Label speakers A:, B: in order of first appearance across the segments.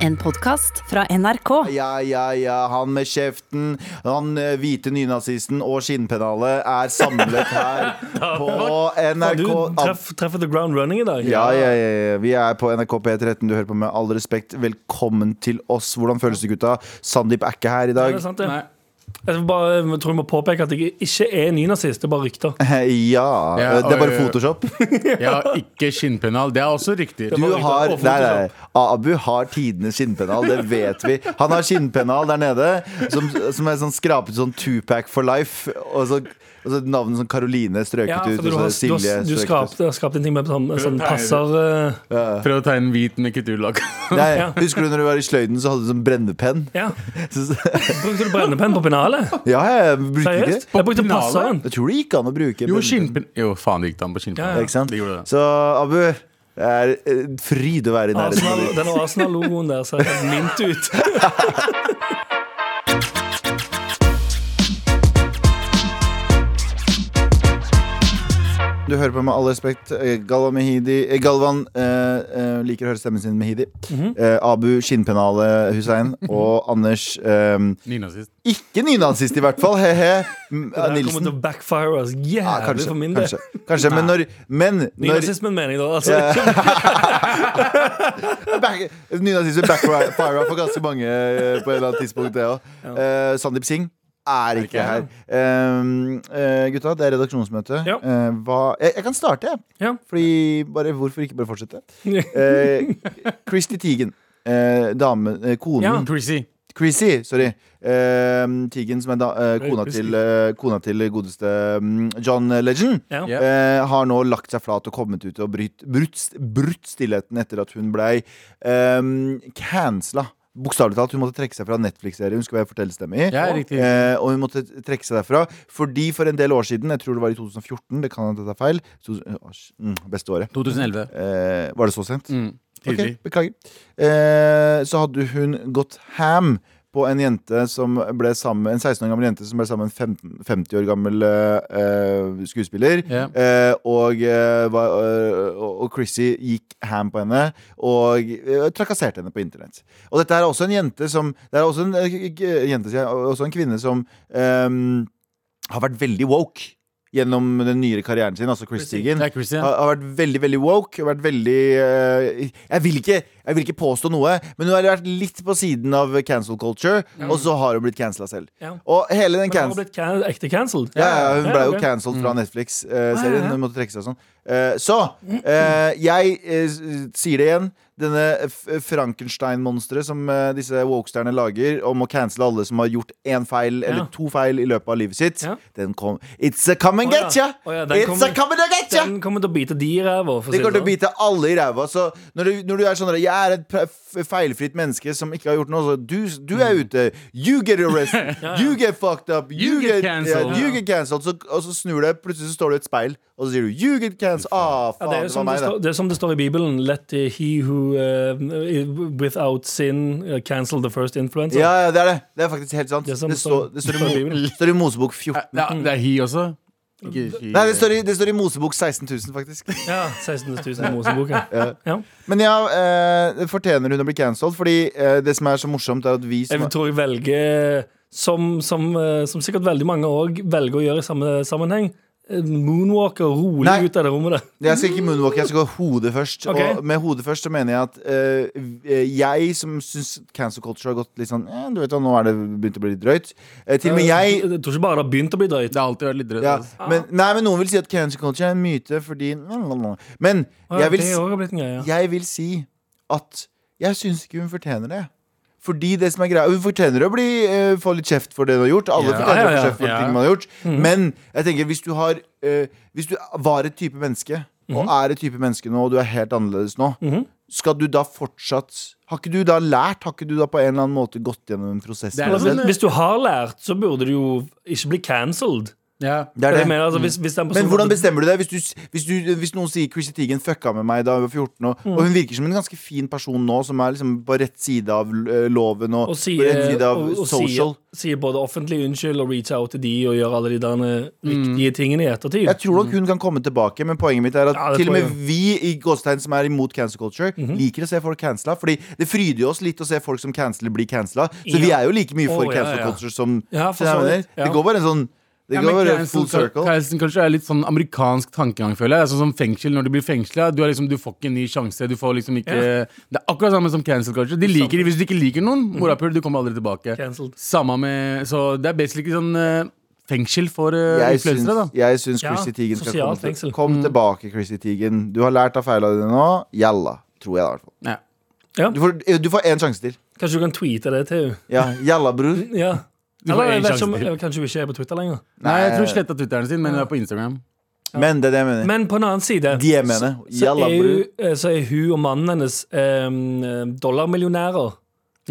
A: En podkast fra NRK.
B: Ja, ja, ja, han med kjeften, han eh, hvite nynazisten og skinnpennalet er samlet her på
C: Du
B: NRK
C: treff, treffer the ground running i dag.
B: ja, ja, ja, ja, vi er på NRK P13, du hører på med all respekt Velkommen til oss, hvordan føles det gutta? Sandeep er ikke her i
C: Er
B: dag
C: det sant, det? Jeg vil bare, jeg tror jeg må påpeke at jeg ikke er nynazist. Det er bare rykter.
B: Ja,
D: Ja,
B: det er bare
D: og-
B: Photoshop
D: Jeg har ikke skinnpennal. Det er også riktig.
B: Du
C: var riktig.
B: har, nei,
C: Og
D: liksom.
B: nei,
C: Photoshop.
B: Abu har tidenes skinnpennal, det vet vi. Han har skinnpennal der nede som, som er sånn skrapet sånn Tupac for life. Og så, og så navnet som Karoline strøket
C: Ja,
B: ut,
C: for du
B: og så
C: har, du
B: Silje
C: har, du
B: strøket ut.
C: skrapte, skrapte en ting med sånn, sånn passer eh,
D: Prøv å tegne hvit med kuturlakk.
B: Nei,
C: Ja.
B: Husker du når du var i sløyden, så hadde du sånn brennepenn?
C: Ja.
B: Så-
C: Brukte du brennepenn på pennalet?
B: Ja, jeg brukte ikke
C: Seriøst?
B: det.
C: Jeg brukte
D: pennalet?
C: passeren.
B: Jeg tror det gikk an å bruke
D: Jo,
B: brennepenn.
D: skinnpenn... Jo, faen, det gikk an på skinnpennal.
C: Ja, ja.
B: Ikke sant?
D: Det gjorde det.
B: Så Abu, det er eh, fryd å være i nærheten av
C: Arsenal,
B: deg.
C: den Arsenal-logoen der ser helt mint ut.
B: Du hører på med all respekt. eh, Galvan Mehidi eh, Galvan eh, eh, liker å høre stemmen sin Mehidi.
C: Mhm.
B: eh, Abu Skinnpennalet Hussein. Og Anders eh,
D: Nynazist.
B: Ikke nynazist, i hvert fall. He-he. M- eh,
C: Det her kommer
B: Nilsen.
C: til å backfire oss
B: Ja,
C: jævlig
B: kanskje.
C: for min del.
B: kanskje, kanskje men når, men når
C: Nynazismen mener jeg da. Altså.
B: back- Nynazismen backfira for ganske mange eh, på et eller annet tidspunkt, det òg. Eh, Sandeep Singh er ikke
D: Ikke
B: her. Um, eh, gutta, det er redaksjonsmøte.
C: Ja.
B: Eh, hva, jeg, jeg kan starte, jeg.
C: Ja.
B: Fordi bare, hvorfor ikke bare fortsette? Eh, Christy Teigen. Eh, dame, eh, konen
C: Ja.
D: Chrissy.
B: Chrissy, sorry. Eh, Teigen, som er da, eh, kona,
C: Chrissy.
B: til, eh, kona til godeste mm, John Legend,
C: Ja.
D: Ja.
B: eh, har nå lagt seg flat og kommet ut og brytt, brutt, brutt stillheten etter at hun blei eh, cancela. Bokstavelig talt. Hun måtte trekke seg fra Netflix-serien. Hun skulle være fortellerstemme i.
D: Ja, riktig.
B: Eh, og hun måtte trekke seg derfra. Fordi for en del år siden, jeg tror det var i 2014, det kan hende jeg tar feil to, mm, Beste året.
D: 2011.
B: Eh, var det så sent?
D: Mm.
B: Ok,
D: Tidlig.
B: beklager. Eh, så hadde hun gått ham på en jente som ble sammen En 16 år gammel jente som ble sammen med en 15, 50 år gammel eh, eh, skuespiller.
D: Ja.
B: Eh, og, eh, var, eh, og og Chrissy gikk ham på henne og eh, trakasserte henne på internett. Og dette er også en jente som Det er også en, eh, k- jente, sier jeg, og- også en kvinne som eh, har vært veldig woke gjennom den nyere karrieren sin, altså Chris
C: Chrissy.
B: Teigen
D: Det er Chrissy.
B: har, har vært veldig veldig woke. Har vært veldig eh, jeg, vil ikke, jeg vil ikke påstå noe, men hun har vært litt på siden av cancel culture, og så har hun blitt cancela selv.
C: Ja.
B: Og hele den
C: Men har hun
B: cancel...
C: blitt can ekte cancelled?
B: Ja, ja, hun
C: Ja,
B: ble jo
C: ok.
B: cancelled fra
C: Mm. Ja,
B: Netflix-serien.
C: ja, ja.
B: Hun måtte trekke seg og sånn. Eh, så eh, jeg eh, s- sier det igjen. Denne f- Frankenstein-monsteret som eh, disse wokesterne lager om å cancele alle som har gjort én feil eller
C: Ja.
B: to feil i løpet av livet sitt,
C: Ja.
B: den kom It's a come and
C: Å, ja.
B: get ya!
C: Å, ja, den
B: It's
C: kommer-
B: a come and get ya!
C: Den kommer til å bite de i ræva. for å
B: Det
C: si
B: kommer til å
C: sånn.
B: bite alle i ræva. Så når du, når du er sånn der, Jeg er et pe- f- feilfritt menneske som ikke har gjort noe, så du, du
C: Mm.
B: er ute. You get arrested. You get fucked up. You,
D: You get
B: get,
D: cancelled.
B: ja, you get cancelled. Så, og så snur det, plutselig så står det et speil, og så sier du You get cancelled. Ah,
C: Ja,
B: faen,
C: det, er jo
B: det
C: som
B: var
C: det,
B: meg,
C: står,
B: det.
C: det er som det står i Bibelen. Let uh, he who uh, without sin uh, cancel the first influencer.
B: Ja, ja, det er det. Det er faktisk helt sant.
C: Det
B: Det,
C: er som
B: står,
C: står-
B: det står,
C: står i
B: i, Mo-
C: Bibelen.
B: står i Mosebok 14.
D: Det er, det er he også. Ikke he.
B: Nei, det står, i, det står i Mosebok 16 000, faktisk.
C: Ja, 16 000 i Moseboka. Ja.
B: Men ja, eh, fortjener hun å bli cancelled? Fordi eh, det som er så morsomt, er at vi som
C: Jeg tror jeg velger, som, som, eh, som sikkert veldig mange òg velger å gjøre i samme sammenheng, eh, moonwalker rolig
B: Nei.
C: ut av det rommet der.
B: Jeg skal ikke moonwalk, jeg skal gå hodet først.
C: Ok.
B: Og med hodet først så mener jeg at eh, jeg som syns cancel culture har gått litt sånn eh, Du vet jo, nå er det begynt å bli litt drøyt. Eh, til og med jeg
C: Jeg tror ikke bare det har begynt å bli drøyt.
D: Det har alltid vært litt drøyt.
B: ja,
D: altså.
B: men, Nei, men noen vil si at cancel culture er en myte fordi Men
C: Å,
B: jeg vil,
C: det
B: si-
C: også har blitt en greie. ja.
B: jeg vil si at jeg syns ikke hun fortjener det. Fordi det som er greia Hun fortjener å bli, eh, få litt kjeft for det hun har gjort. Alle
D: Ja,
B: fortjener å
C: ja,
B: få
C: ja.
B: kjeft for
D: Ja.
B: ting man har gjort. Men jeg tenker hvis du, har, eh, hvis du var et type menneske, og er et type menneske nå, og du er helt annerledes nå, skal du da fortsatt Har ikke du da lært? Har ikke du da på en eller annen måte gått gjennom en prosess?
D: Det er
B: med deg
D: vel-
B: selv?
C: Hvis du har lært, så burde du jo ikke bli cancelled.
D: Ja.
B: Det er
C: Det
B: det. Mm.
C: jeg mener, altså, hvis, hvis den
B: Men
C: personen
B: hvordan bestemmer du deg hvis, du, hvis, du, hvis noen sier Chrissy Teigen fucka med meg da jeg var 14? Og, og
C: Mm.
B: hun virker som en ganske fin person nå, som er liksom på rett side av eh, loven og, på
C: og sier,
B: rett side av
C: og, og sier,
B: social.
C: sier både offentlig unnskyld og reach out til de og gjør alle de der eh, riktige tingene i ettertid.
B: Mm. Jeg tror nok hun kan komme tilbake, men poenget mitt er at
C: Ja, det
B: til og
C: tror
B: med
C: jeg. Mhm.
B: vi i Gåstein som er imot cancel culture, liker å se folk cancela. Fordi det fryder jo oss litt å se folk som canceler, bli cancela. Så
C: Ja.
B: vi er jo like mye for
C: Å, ja,
B: cancel
C: ja.
B: culture som
C: Ja,
B: Så
C: for
B: jeg
C: så
B: mener,
C: vidt, ja.
B: Det går bare en sånn Det
D: Ja,
B: går
D: men
B: bare
D: cancel
B: full circle.
D: cul- Cancel culture er litt sånn amerikansk tankegang, føler jeg. Det er sånn som fengsel. Når du blir fengsla, du, er liksom, du får ikke en ny sjanse. Du får liksom ikke Det er akkurat samme som cancel culture. De liker, hvis du ikke liker noen, morapuler, du kommer aldri tilbake.
C: Cancelled.
D: Samme med Så det er basically sånn eh, fengsel for uh,
B: Jeg syns,
D: influensere, da.
B: jeg syns
C: Ja,
B: Chrissy Teigen skal
C: sosialt
B: komme til.
C: fengsel.
B: Kom tilbake, Chrissy Teigen. Du har lært av feila dine nå. Jalla. Tror jeg, i hvert fall.
D: Ja.
C: Ja.
B: Du får- eh, Du får én sjanse til.
C: Kanskje du kan tweete det til henne?
B: Ja, Jalla, bror.
C: Ja.
D: Du får
C: Eller jeg
D: en
C: vet ikke
D: sjanse
C: om,
D: til.
C: kanskje hun ikke er på Twitter lenger.
D: Nei, jeg tror hun
B: Nei.
D: sletta Twitteren sin, men hun er på Instagram.
B: Men det er det jeg mener.
C: Men på en annen side
B: Eh. De jeg mener.
C: så,
B: Jalla,
C: er
B: bror.
C: hun, eh, så er hun og mannen hennes eh, dollarmillionærer.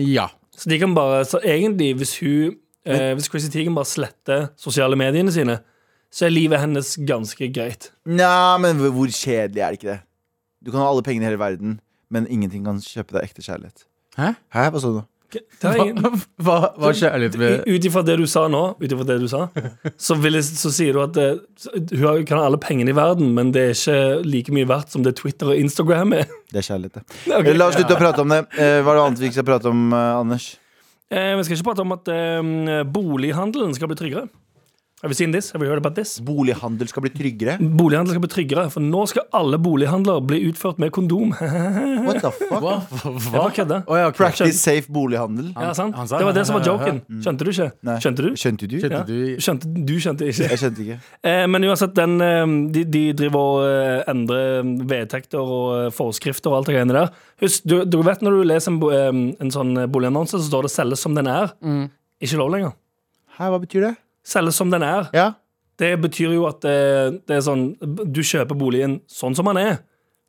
D: Ja.
C: Så de kan bare Så egentlig, hvis hun eh, Hvis Chrissy Teigen bare sletter sosiale mediene sine, så er livet hennes ganske greit.
B: Nja, men hvor kjedelig er det ikke det? Du kan ha alle pengene i hele verden, men ingenting kan kjøpe deg ekte kjærlighet.
D: Hæ?
B: Hæ, hva sa du?
C: Det er ingen-
D: Hva, hva, hva er kjærlighet
C: I-
D: med
C: Ut ifra det du sa nå, ut ifra det du sa så, vil jeg, så sier du at eh, så- hun har- kan ha alle pengene i verden, men det er ikke like mye verdt som det Twitter og Instagram er.
B: Det er kjærlighet, det.
C: Ok.
B: Eh, La oss slutte å prate om det. Eh, Hva er det annet vi ikke skal prate om, eh, Anders?
C: Eh, Vi skal ikke prate om at eh, bolighandelen skal bli tryggere. Have you seen this? Have you heard about this?
B: Bolighandel skal bli tryggere?
C: Bolighandel skal bli tryggere, for nå skal alle bolighandler bli utført med kondom.
B: What the fuck?
D: Hva? Hva?
C: Jeg bare kødder.
D: Å, ja, ok.
B: Practice safe bolighandel.
C: Ja, sant?
D: han sa-
C: Det var det som var
D: ja, ja, ja.
C: joken. Skjønte du ikke?
B: Nei.
C: Skjønte du?
B: Skjønte du?
D: Skjønte
C: Ja.
D: du
C: Skjønte, du skjønte ikke.
B: Jeg skjønte ikke.
C: Eh, Men uansett, den, eh, de, de driver og eh, endrer vedtekter og eh, forskrifter og alt det greiene der. Husk, du, du vet når du leser en, bo- eh, en sånn boligannonse, så står det 'selges som den er'. Ikke lov lenger.
B: Hæ, hva betyr det?
C: Selges som den er.
B: Ja.
C: Det betyr jo at det, det er sånn Du kjøper boligen sånn som den er,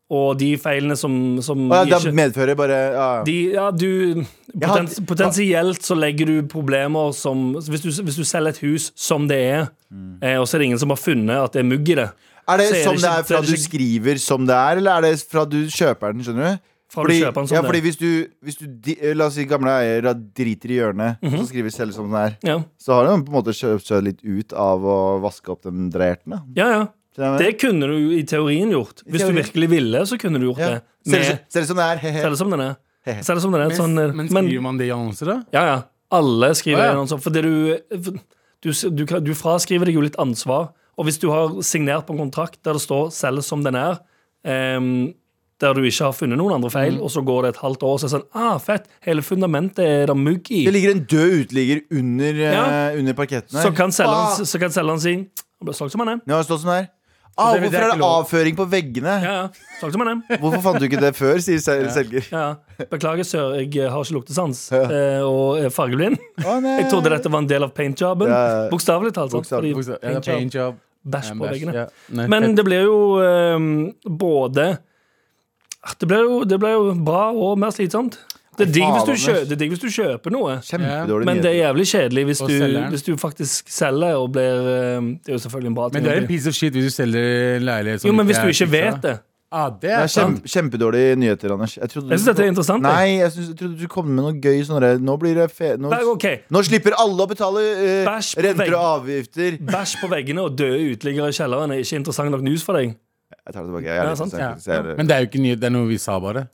C: og de feilene som, som
B: Å,
C: de
B: ja
C: ikke-
B: det medfører bare ja, ja.
C: de, ja, du
B: har-
C: potens, Potensielt så legger du problemer som hvis du, hvis du selger et hus som det er,
B: Mm.
C: eh, og så er det ingen som har funnet at det er mugg i det
B: Er det
C: så er det
B: som
C: ikke-
B: det er
C: så
B: fra
C: er det
B: du
C: ikke-
B: skriver som det er, eller er det fra du kjøper den, skjønner du?
C: Fra du kjøper sånn den som
B: ja,
C: det er.
B: fordi hvis du, hvis du di- eh, La oss si gamle eier da driter i hjørnet,
C: Mhm.
B: så skriver selv som den er,
C: Ja,
B: så har han på en måte kjøpt seg litt ut av å vaske opp den dreierten. da.
C: ja. ja.
B: Skjønner du hva jeg mener?
C: Det kunne du i teorien gjort. Hvis du
B: teorien.
C: virkelig ville, så kunne du gjort
B: Ja.
C: det.
B: Selv,
C: Med,
B: selv som det er. Hehe.
C: selg som den er. Selg som den er.
D: Men,
C: Sånn, eh,
D: men
C: men
D: skriver man det i annonser, da?
C: Ja, ja. Alle skriver
D: Å,
C: oh,
D: ja.
C: sånn. For det du, du, du, kan- du fraskriver deg jo litt ansvar. Og hvis du har signert på en kontrakt der det står 'selg som den er', ehm, der du ikke har funnet noen andre feil,
B: Mm.
C: og så går det et halvt år, og så er det sånn ah, fett, hele fundamentet er det mugg i.
B: Det ligger en død uteligger under, eh,
C: Ja.
B: under parketten her.
C: Så kan
B: Ah,
C: selgeren, så kan selgeren si 'han ble solgt som han er'.
B: Nå har det stått sånn her. Ah,
D: det- det
B: hvorfor er
D: er ikke
B: det
D: lov.
B: avføring på veggene?
C: Ja, ja. Solgt som han er.
B: Hvorfor fant du ikke det før, sier sel- selger.
C: Ja, ja. Beklager, sør, jeg har ikke luktesans eh, og er fargeblind.
B: Å, nei.
C: Jeg trodde dette var en del av paintjobben.
B: Ja, ja.
C: Bokstavelig talt. sant?
B: Bokstavelig,
C: Fordi
D: Ja, det er
C: paintjob,
D: paint job.
C: Bæsj på veggene.
D: Ja, nei,
C: Men
D: fett.
C: det blir jo ehm, både Ah, det blir, jo, det blir jo bra og mer slitsomt. Det er digg hvis du, kjø,
B: Anders.
C: det er digg hvis du kjøper noe,
B: Kjempedårlig
C: men det
B: nyhet.
C: er jævlig kjedelig hvis
D: Og
C: du,
D: selger den.
C: hvis du faktisk selger og blir ehm, Det er jo selvfølgelig en bra ting.
D: Men det
C: å
D: er en
C: bli.
D: piece of shit hvis du selger en leilighet som
C: Jo, men hvis
D: er
C: du ikke
D: fiksa.
C: vet det.
D: Ah, det
B: Det
D: er
B: er kjem,
D: sant.
B: kjempedårlige nyheter, Anders. Jeg, trodde du-
C: Jeg syns dette er interessant. jeg.
B: Nei, jeg, synes, jeg trodde du kom med noe gøy sånn der, Nå blir det fe... Nå,
C: Nei, ok.
B: nå slipper alle å betale eh,
C: Bæsj på
B: renter
C: veggen.
B: og avgifter.
C: Bæsj på veggene og døde uteliggere i kjelleren er ikke interessant nok news for deg.
B: Jeg tar det tilbake. Jeg er
C: Ja,
B: litt
C: sant,
B: sånn,
D: Ja.
B: faktisk, jeg er-
D: Men det er jo ikke nyhet, det er noe vi sa bare.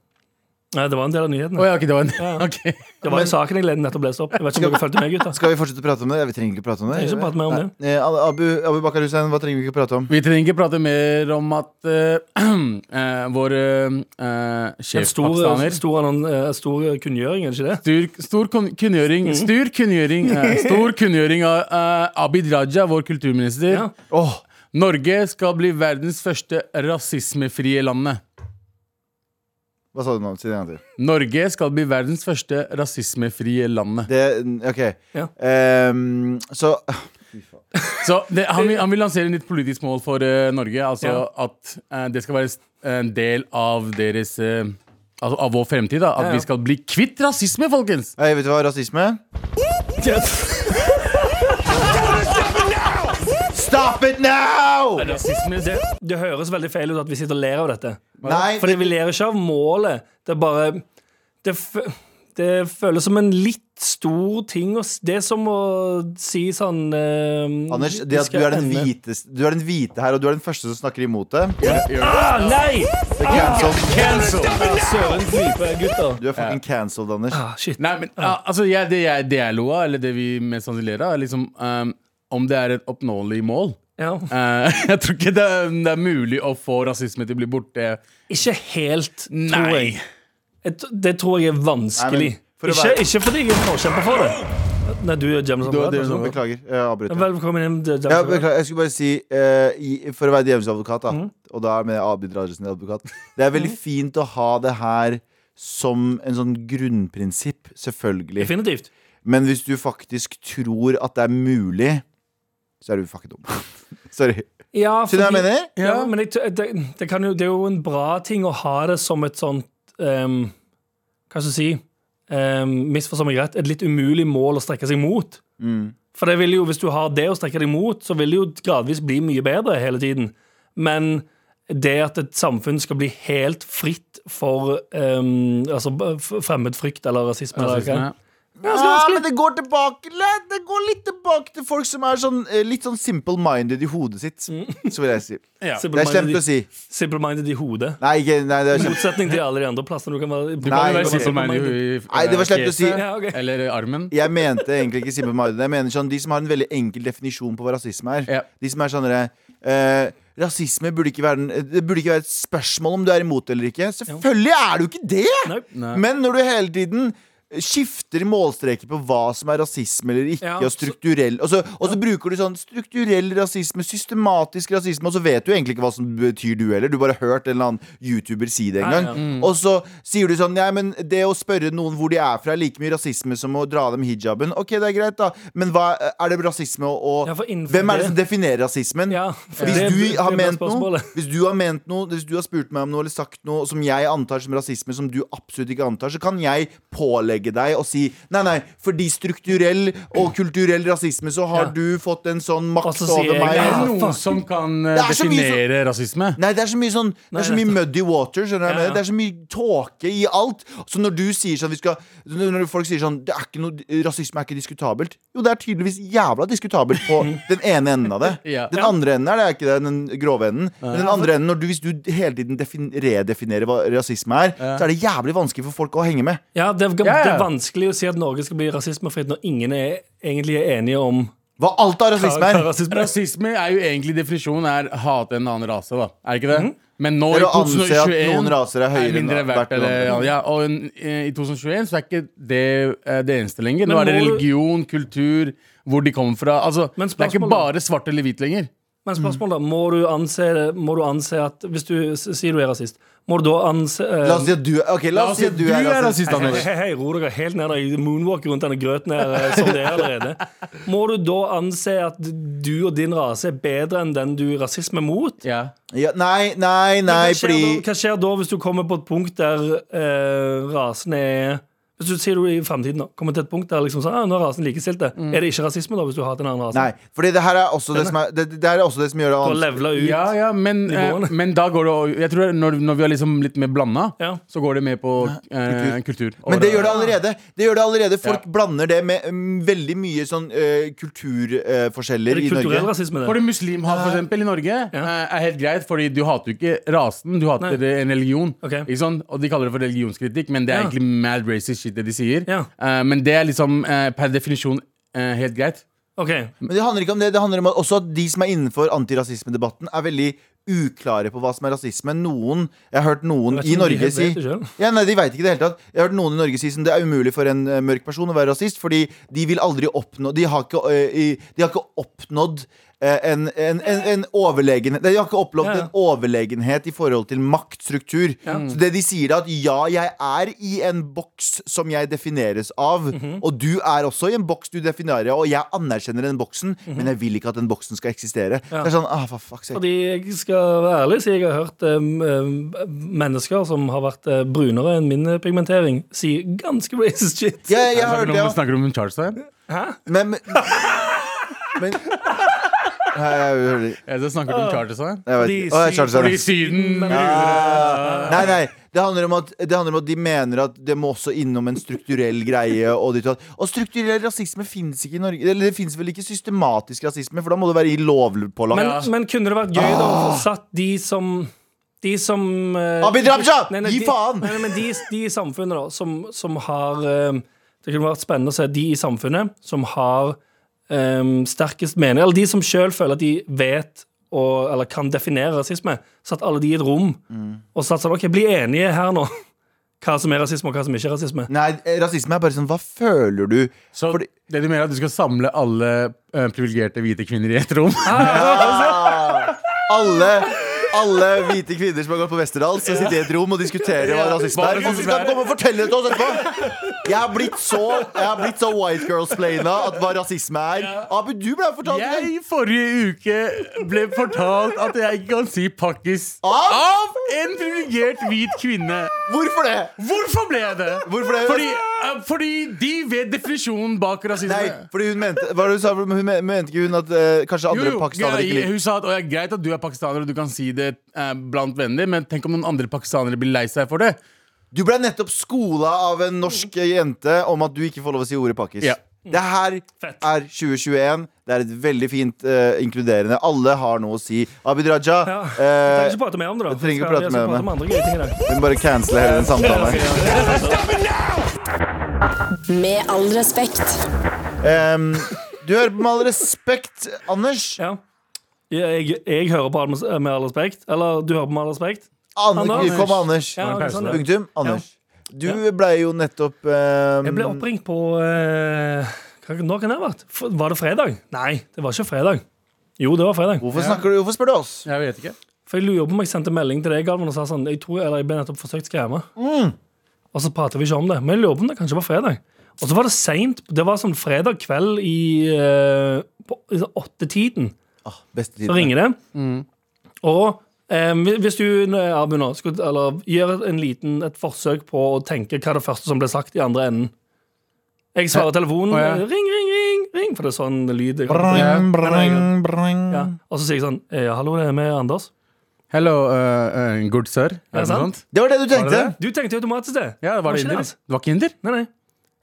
C: Nei, det var en del av nyhetene.
D: Å ja, ok, det var en Ok.
C: Det var jo saken jeg nettopp leste opp. Jeg vet ikke om dere fulgte med, gutta.
B: Skal vi fortsette å prate om det? Vi trenger ikke prate om det.
C: Jeg vil ikke prate mer om
B: Nei. Eh, Abu, Abu Bakar Hussein, hva trenger vi ikke prate om?
D: Vi trenger ikke prate mer om at eh, eh, vår eh,
C: En
D: sjef
C: stor,
D: pakistaner
C: stor, annon- eh, stor kunngjøring, er det ikke det?
D: Stor, stor kun- kunngjøring
C: Mm.
D: Stor kunngjøring eh, Stor kunngjøring av eh, Abid Raja, vår kulturminister.
C: Ja.
B: Åh,
D: Norge skal bli verdens første rasismefrie landet.
B: hva sa du nå? Si det en gang til.
D: Norge skal bli verdens første rasismefrie landet.
B: Det, ok.
C: Ja.
B: Ehm, så
D: Så det, han, vil, han vil lansere et nytt politisk mål for eh, Norge. Altså
C: Ja.
D: at eh, det skal være s- en del av deres eh, Altså av vår fremtid. da At
C: Ja, ja.
D: vi skal bli kvitt rasisme, folkens!
B: Hei, eh, Vet du hva? Rasisme?
C: Yes.
B: Stop Stop it now!
C: Det, det høres veldig feil ut at vi sitter og ler av dette.
B: Nei,
C: Fordi
B: det-
C: vi ler ikke av målet. Det er bare Det, fø- det føles som en litt stor ting. å s- Det er som å si sånn eh,
B: Anders,
C: vi
B: det at du
C: skal
B: er, den
C: ende-
B: hvite, du er den hvite her, og du er den første som snakker imot det.
C: Ah, nei!
B: Det er cancelled.
C: Ah, Søren klype, gutter.
B: Du er fucking cancelled, Anders.
C: Ah, shit.
D: Nei, men ah, altså, jeg, det, jeg, det jeg lo av, eller det vi mest sannsynlig ler av, er liksom ehm, om det er et oppnåelig mål.
C: Ja.
D: Eh, jeg tror ikke det er, det er mulig å få rasisme til å bli borte.
C: Ikke helt, tror
D: Nei.
C: jeg. jeg. t- Det tror jeg er vanskelig.
B: Nei, men for å
C: ikke,
B: være-
C: ikke fordi jeg er forkjemper for det. Nei, du er Jameson.
D: Du er
C: Brad,
D: Jameson
C: altså.
D: Brad.
B: Beklager, jeg avbryter.
C: Velkommen inn. Jameson
B: Ja,
C: Brad.
B: beklager. Jeg skulle bare si, eh, i, for å være djevelens advokat, da, og da mener jeg Abid Rajelsen advokat Det er veldig fint å ha det her som en sånn grunnprinsipp, selvfølgelig.
C: Definitivt.
B: Men hvis du faktisk tror at det er mulig, så er du fucking dum. Sorry.
C: Ja,
B: Skjønner du hva jeg
C: fordi-
B: mener?
C: Ja, men jeg, t- det, det, kan jo, det er jo en bra ting å ha det som et sånt ehm, Hva skal jeg si um, Misforstå meg rett, et litt umulig mål å strekke seg mot.
B: Mm.
C: For det vil jo, hvis du har det å strekke deg mot, så vil det jo gradvis bli mye bedre hele tiden. Men det at et samfunn skal bli helt fritt for ehm, altså, b- f- fremmedfrykt eller rasisme, eller
D: Rasisme.
B: Ja,
C: hva
B: Ah, men det går tilbake litt. Det går litt tilbake til folk som er sånn, eh, litt sånn simple-minded i hodet sitt. Så vil jeg si. Det er slemt å si.
C: Simple-minded i hodet.
B: Nei, ikke, nei det er
C: I
B: slemt.
C: motsetning til alle de andre plassene du kan være
D: Du kan jo
B: Nei,
D: være
B: ok.
D: simple-minded i, i,
B: Nei, det var slemt å si.
D: fjeset,
C: Ja, ok.
D: Eller armen.
B: Jeg mente egentlig ikke Simple Marden. Jeg mener sånn, De som har en veldig enkel definisjon på hva rasisme er.
D: Ja.
B: De som er sånn derre, eh, Rasisme burde ikke, være den, det burde ikke være et spørsmål om du er imot eller ikke. Selvfølgelig er du ikke det!
C: Nei.
B: Men når du hele tiden skifter målstreker på hva som er rasisme eller ikke,
C: Ja,
B: og strukturell Og så, og så bruker du sånn strukturell rasisme, systematisk rasisme, og så vet du egentlig ikke hva som betyr du heller. Du bare har hørt en eller annen YouTuber si det en
C: Ja,
B: gang.
C: ja.
B: Og så sier du sånn Nei, men det å spørre noen hvor de er fra, er like mye rasisme som å dra dem hijaben. Ok, det er greit, da, men hva er det rasisme og, og
C: Ja, for innenfor
B: Hvem er
C: det-
B: det som definerer rasismen?
C: Ja, for
B: Hvis
C: det-
B: du,
C: det
B: har
C: blir
B: ment noe,
C: spørsmålet.
B: hvis du har ment noe Hvis du har spurt meg om noe eller sagt noe som jeg antar som rasisme, som du absolutt ikke antar, så kan jeg pålegge deg å si nei, nei, fordi strukturell og kulturell rasisme så har
C: Ja.
B: du fått en sånn
C: Og
B: makt
C: så
B: over
C: sier jeg,
B: meg.
D: Er det
C: Ja,
D: noen
C: fuck.
D: som kan eh,
B: Det er så mye
D: definere rasisme?
B: Nei, det er så mye sånn Det er så
C: Nei,
B: mye muddy water. skjønner du? hva jeg
C: Ja, ja.
B: mener? Det er så mye tåke i alt. Så når du sier sånn vi skal, Når folk sier sånn det er ikke noe, Rasisme er ikke diskutabelt. Jo, det er tydeligvis jævla diskutabelt på den ene enden av det.
D: Ja.
B: Den andre enden er det ikke det, den grove enden. Men den andre enden, når du, hvis du hele tiden defin, redefinerer hva rasisme er, så er det jævlig vanskelig for folk å henge med.
C: Ja, det, er-
D: ja.
C: det er vanskelig å si at Norge skal bli rasismefritt når ingen er, egentlig er enige om
B: Hva alt av
C: hva,
B: rasisme
C: hva
B: er.
C: rasisme er.
D: Rasisme er jo egentlig definisjonen er hate en annen rase, da. Er ikke det? Men nå
B: Det er
D: i
B: å anse at
D: 2021
B: noen raser er høyere enn
D: mindre
B: hvert
D: verdt. Eller,
B: andre.
D: ja, og en, eh, i 2021 så er ikke det eh, det eneste lenger. Nå
C: Men
D: er det
C: må du-
D: religion, kultur, hvor de kommer fra. Altså,
C: Men
D: det er ikke
C: spørsmålet-
D: bare svart eller hvit lenger.
B: Mm.
C: Men spørsmålet da, må du anse, må du anse at Hvis du s- sier du er rasist, må du da anse eh,
B: La oss si at du, ok, la oss si at du er rasist.
C: Hei,
D: Anders.
C: hei, hei, ro dere helt ned. Jeg moonwalker rundt denne grøten her eh, som det er allerede. Må du da anse at du og din rase er bedre enn den du er rasisme mot?
D: Ja.
B: Ja, nei, nei, nei,
C: hva, skjer
B: fordi
C: da, hva skjer da hvis du kommer på et punkt der eh, rasen er Hvis du sier du i fremtiden da, kommer til et punkt der liksom sånn, ah, nå er rasen likestilte, er det ikke rasisme da hvis du hater en annen rase?
B: Mm. Nei, fordi det her er også det som, er, det, det her er også det som gjør det
C: For å
B: vanskelig.
C: levele ut
D: ja, ja, men, eh,
C: Nivåene.
D: men da går det å- Jeg tror når, når vi er liksom litt mer blanda,
C: Ja.
D: så går det mer på eh, kultur.
B: Men det gjør det allerede. Det gjør det allerede Folk
D: Ja.
B: blander det med mm, veldig mye sånn kulturforskjeller
C: Er det
B: i Norge.
C: kulturell rasisme, det?
D: Fordi muslim har for eksempel i Norge eh, er helt greit, fordi du hater jo ikke rasen, du hater
C: Nei.
D: en religion.
C: Ok.
D: Ikke sant? Og de kaller det for religionskritikk, men det er
C: Ja.
D: egentlig mad racist shit det de sier.
C: Ja.
D: Eh, men det er liksom eh, per definisjon eh, helt greit.
C: Ok,
B: Men det handler ikke om det. Det handler om at også at de som er innenfor antirasismedebatten, er veldig uklare på hva som er rasisme. Noen Jeg har hørt noen i
C: Jeg vet ikke om de
B: Norge
C: helt
B: si
C: vet det selv.
B: ja, Nei, de vet ikke det i det hele tatt. Jeg har hørt noen i Norge si som det er umulig for en eh, mørk person å være rasist, fordi de vil aldri oppnå De har ikke, eh, i- de har ikke oppnådd eh, en, en, en, en overlegenhet De har ikke oppnådd
C: Ja, ja.
B: en overlegenhet i forhold til maktstruktur. Så det de sier, er at ja, jeg er i en boks som jeg defineres av, og du er også i en boks du definerer, og jeg anerkjenner den boksen, men jeg vil ikke at den boksen skal eksistere. Det er sånn, ah, for fuck's sake.
C: fordi jeg skal være ærlig, så jeg har hørt em, em, mennesker som har vært eh, brunere enn min pigmentering, si ganske racist shit.
B: Ja, jeg har
D: Snakker
B: hørt
D: du
B: det,
D: om,
B: ja.
D: snakker du om Charles her?
B: Men, men, men Nei, jeg hører det.
D: Ja, så snakker du om Charterson?
B: Jeg vet ikke. Å, jeg charter
D: Fordi
B: seg.
D: Syden
B: Ah, Nei, nei. Det handler, om at, det handler om at de mener at det må også innom en strukturell greie. Og, ditt og, datt. og strukturell rasisme fins ikke i Norge. Eller det fins vel ikke systematisk rasisme, for da må det være i
C: Men,
B: lovpålagt.
C: men kunne det vært gøy da å få satt de som De som eh,
B: Ah. Abid Raja!
C: Nei, nei,
B: Gi
C: de-
B: faen!
C: Nei, nei, men de, de i samfunnet da som, som har eh, Det kunne vært spennende å se de i samfunnet som har eh, sterkest mening, eller de som sjøl føler at de vet og, eller kan definere rasisme, satt alle de i et rom
B: Mm.
C: og satt sånn OK, bli enige her nå. Hva som er rasisme, og hva som ikke er rasisme.
B: Nei, rasisme er bare sånn Hva føler du?
D: Så
B: Fordi-
D: det du mener er at du skal samle alle eh, privilegerte hvite kvinner i ett rom?
B: Ah! Alle alle hvite kvinner som har gått på Westerdals, skal sitte i et rom og diskutere hva rasisme
D: hva
B: er. Og så skal de komme og fortelle det til oss etterpå! Jeg har blitt så, jeg har blitt så white girls-plaina at hva rasisme er. Abu, du ble fortalt det.
D: Jeg i forrige uke ble fortalt at jeg ikke kan si pakkis
B: Av?
D: av en privilegert hvit kvinne.
B: Hvorfor det?
D: Hvorfor ble jeg det?
B: Hvorfor ble jeg det?
D: Fordi, eh, fordi de vet definisjonen bak rasisme.
B: Nei, fordi hun mente Hva var det du sa? Hun men- mente ikke hun at eh, kanskje
D: Jo,
B: andre
D: jo,
B: pakistanere
D: grei-
B: ikke liker
D: Hun sa at «Å, ja, greit at du er pakistaner og du kan si det eh, blant venner, men tenk om noen andre pakistanere blir lei seg for det.
B: Du ble nettopp skola av en norsk jente om at du ikke får lov å si ordet pakkis.
D: Ja.
B: Det her
C: Fett.
B: er 2021. Det er et veldig fint eh, inkluderende. Alle har noe å si. Abid Raja,
C: Ja. Jeg trenger
B: eh,
C: ikke prate mer om det, da.
B: jeg trenger ikke
C: Skal-
B: prate
C: jeg
B: mer om
C: skal
B: det.
C: andre gøye ting i dag.
B: vi må bare cancele hele den samtalen. her.
A: Med all respekt.
B: Em, du hører på Med all respekt, Anders.
C: Ja. Jeg, jeg, jeg hører på Med med all respekt. Eller du hører på Med all respekt.
B: Anders.
C: Anders.
B: Kom, Anders.
C: Ja,
D: en
C: ok,
D: pause
C: sånn,
D: der.
C: ja.
B: Punktum. Anders. Du ble jo nettopp em,
C: Jeg ble oppringt på eh, hva- Når kan det ha vært? F- Var det fredag? Nei, det var ikke fredag. Jo, det var fredag.
B: Hvorfor, snakker du, hvorfor spør du oss?
D: Jeg vet ikke.
C: For jeg lurer på om jeg sendte melding til deg, Galvan, og sa sånn Jeg tror, eller jeg ble nettopp forsøkt skremme. Og så prater vi ikke om det. Men jeg lurer på om det kanskje var fredag. Og så var det seint. Det var sånn fredag kveld i eh, på- i sånn åttetiden.
B: Ah, beste
C: Så
B: tiden.
C: ringer det. Og em, hvi- hvis du eh, Abu, nå, skulle, eller, gjør en liten, et forsøk på å tenke hva det første som ble sagt i andre enden Jeg svarer telefonen.
D: Å, ja.
C: eh, Ring, ring, ring! ring For det er sånn lyd. jeg har.
D: Um,
B: Brang, brang,
C: Ja.
B: brang.
C: Og så sier jeg sånn eh, Hallo, det er med Anders.
D: Hello, uh, uh, good sir. Er det noe
C: sant?
D: sånt?
B: Det var det du tenkte?
D: det
C: Du tenkte jo automatisk det.
D: Ja, var det
C: ikke
D: inder?
C: altså.
D: Det var ikke inder?
C: Nei, nei.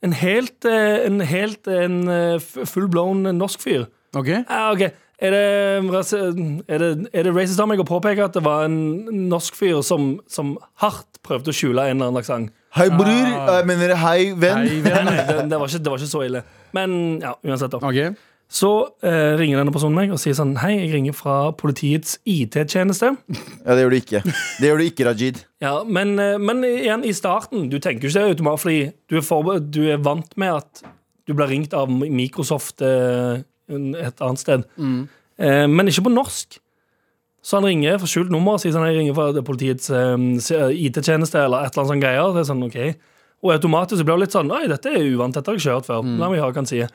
C: En helt, eh, en helt en eh, f- full-blown norsk fyr.
D: Ok.
C: Ja, Ah, ok. Er det, rasi- er, det, er det racist av meg å påpeke at det var en norsk fyr som, som hardt prøvde å skjule en eller annen aksent?
B: Hei, bror.
C: Ah.
B: Jeg mener hei, venn.
D: Nei,
C: Nei,
D: vel.
C: nei, det, det, var ikke- det var ikke så ille. Men ja, uansett, da.
D: Ok.
C: Så eh, ringer denne personen meg og sier sånn Hei, jeg ringer fra politiets IT-tjeneste.
B: Ja, det gjør du ikke. Det gjør du ikke, Rajid.
C: Ja, men, eh, men igjen, i starten Du tenker jo ikke det automatisk, fordi du er, forberedt- du er vant med at du blir ringt av Microsoft eh, en- et annet sted. Eh, men ikke på norsk. Så han ringer fra skjult nummer og sier sånn, jeg ringer fra det politiets eh, IT-tjeneste eller et eller annet sånn greier. Det er sånn, ok. Og automatisk så blir det litt sånn Oi, dette er uvant, dette har jeg ikke hørt før. La meg høre hva han sier.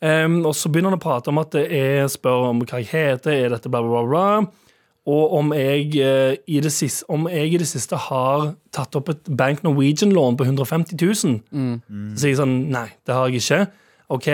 C: Em, og så begynner han å prate om at det er spør om hva jeg heter, er dette bla, bla, bla. bla og om jeg, eh, i det siste, om jeg i det siste har tatt opp et Bank Norwegian-lån på 150 000. Så sier jeg sånn Nei, det har jeg ikke. OK.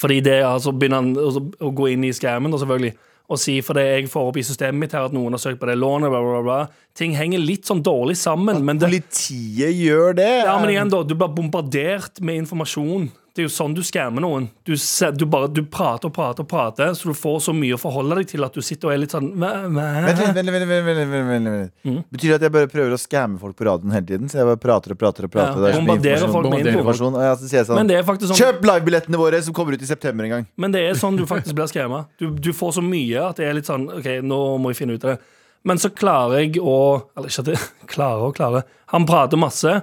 C: Fordi det altså begynner han å, å gå inn i skjermen og selvfølgelig og si for det jeg får opp i systemet mitt her at noen har søkt på det lånet, bla, bla, bla. Ting henger litt sånn dårlig sammen. Men det,
B: Politiet gjør det.
C: ja, men igjen da, du blir bombardert med informasjon. Det er jo sånn du skammer noen. Du, se- du, bare, du prater og prater og prater, så du får så mye å forholde deg til at du sitter og er litt sånn "Hva- hva?"
B: Vent litt, vent litt, vent litt, vent litt, vent litt, vent
C: Mm.
B: litt. Betyr det at jeg bare prøver å skamme folk på radioen hele tiden? Så jeg bare prater og prater og prater. det
C: Ja,
B: er så mye
C: bombarderer
B: informasjon.
C: folk med
B: Bombarderer
C: info.
B: informasjon. Ja, så sier jeg sånn,
C: Men det er faktisk sånn,
B: Kjøp livebillettene våre som kommer ut i september en gang.
C: men det er sånn du faktisk blir skremmet. Du, du får så mye at det er litt sånn OK, nå må jeg finne ut av det. Men så klarer jeg å Eller ikke at jeg klarer og klarer. Han prater masse,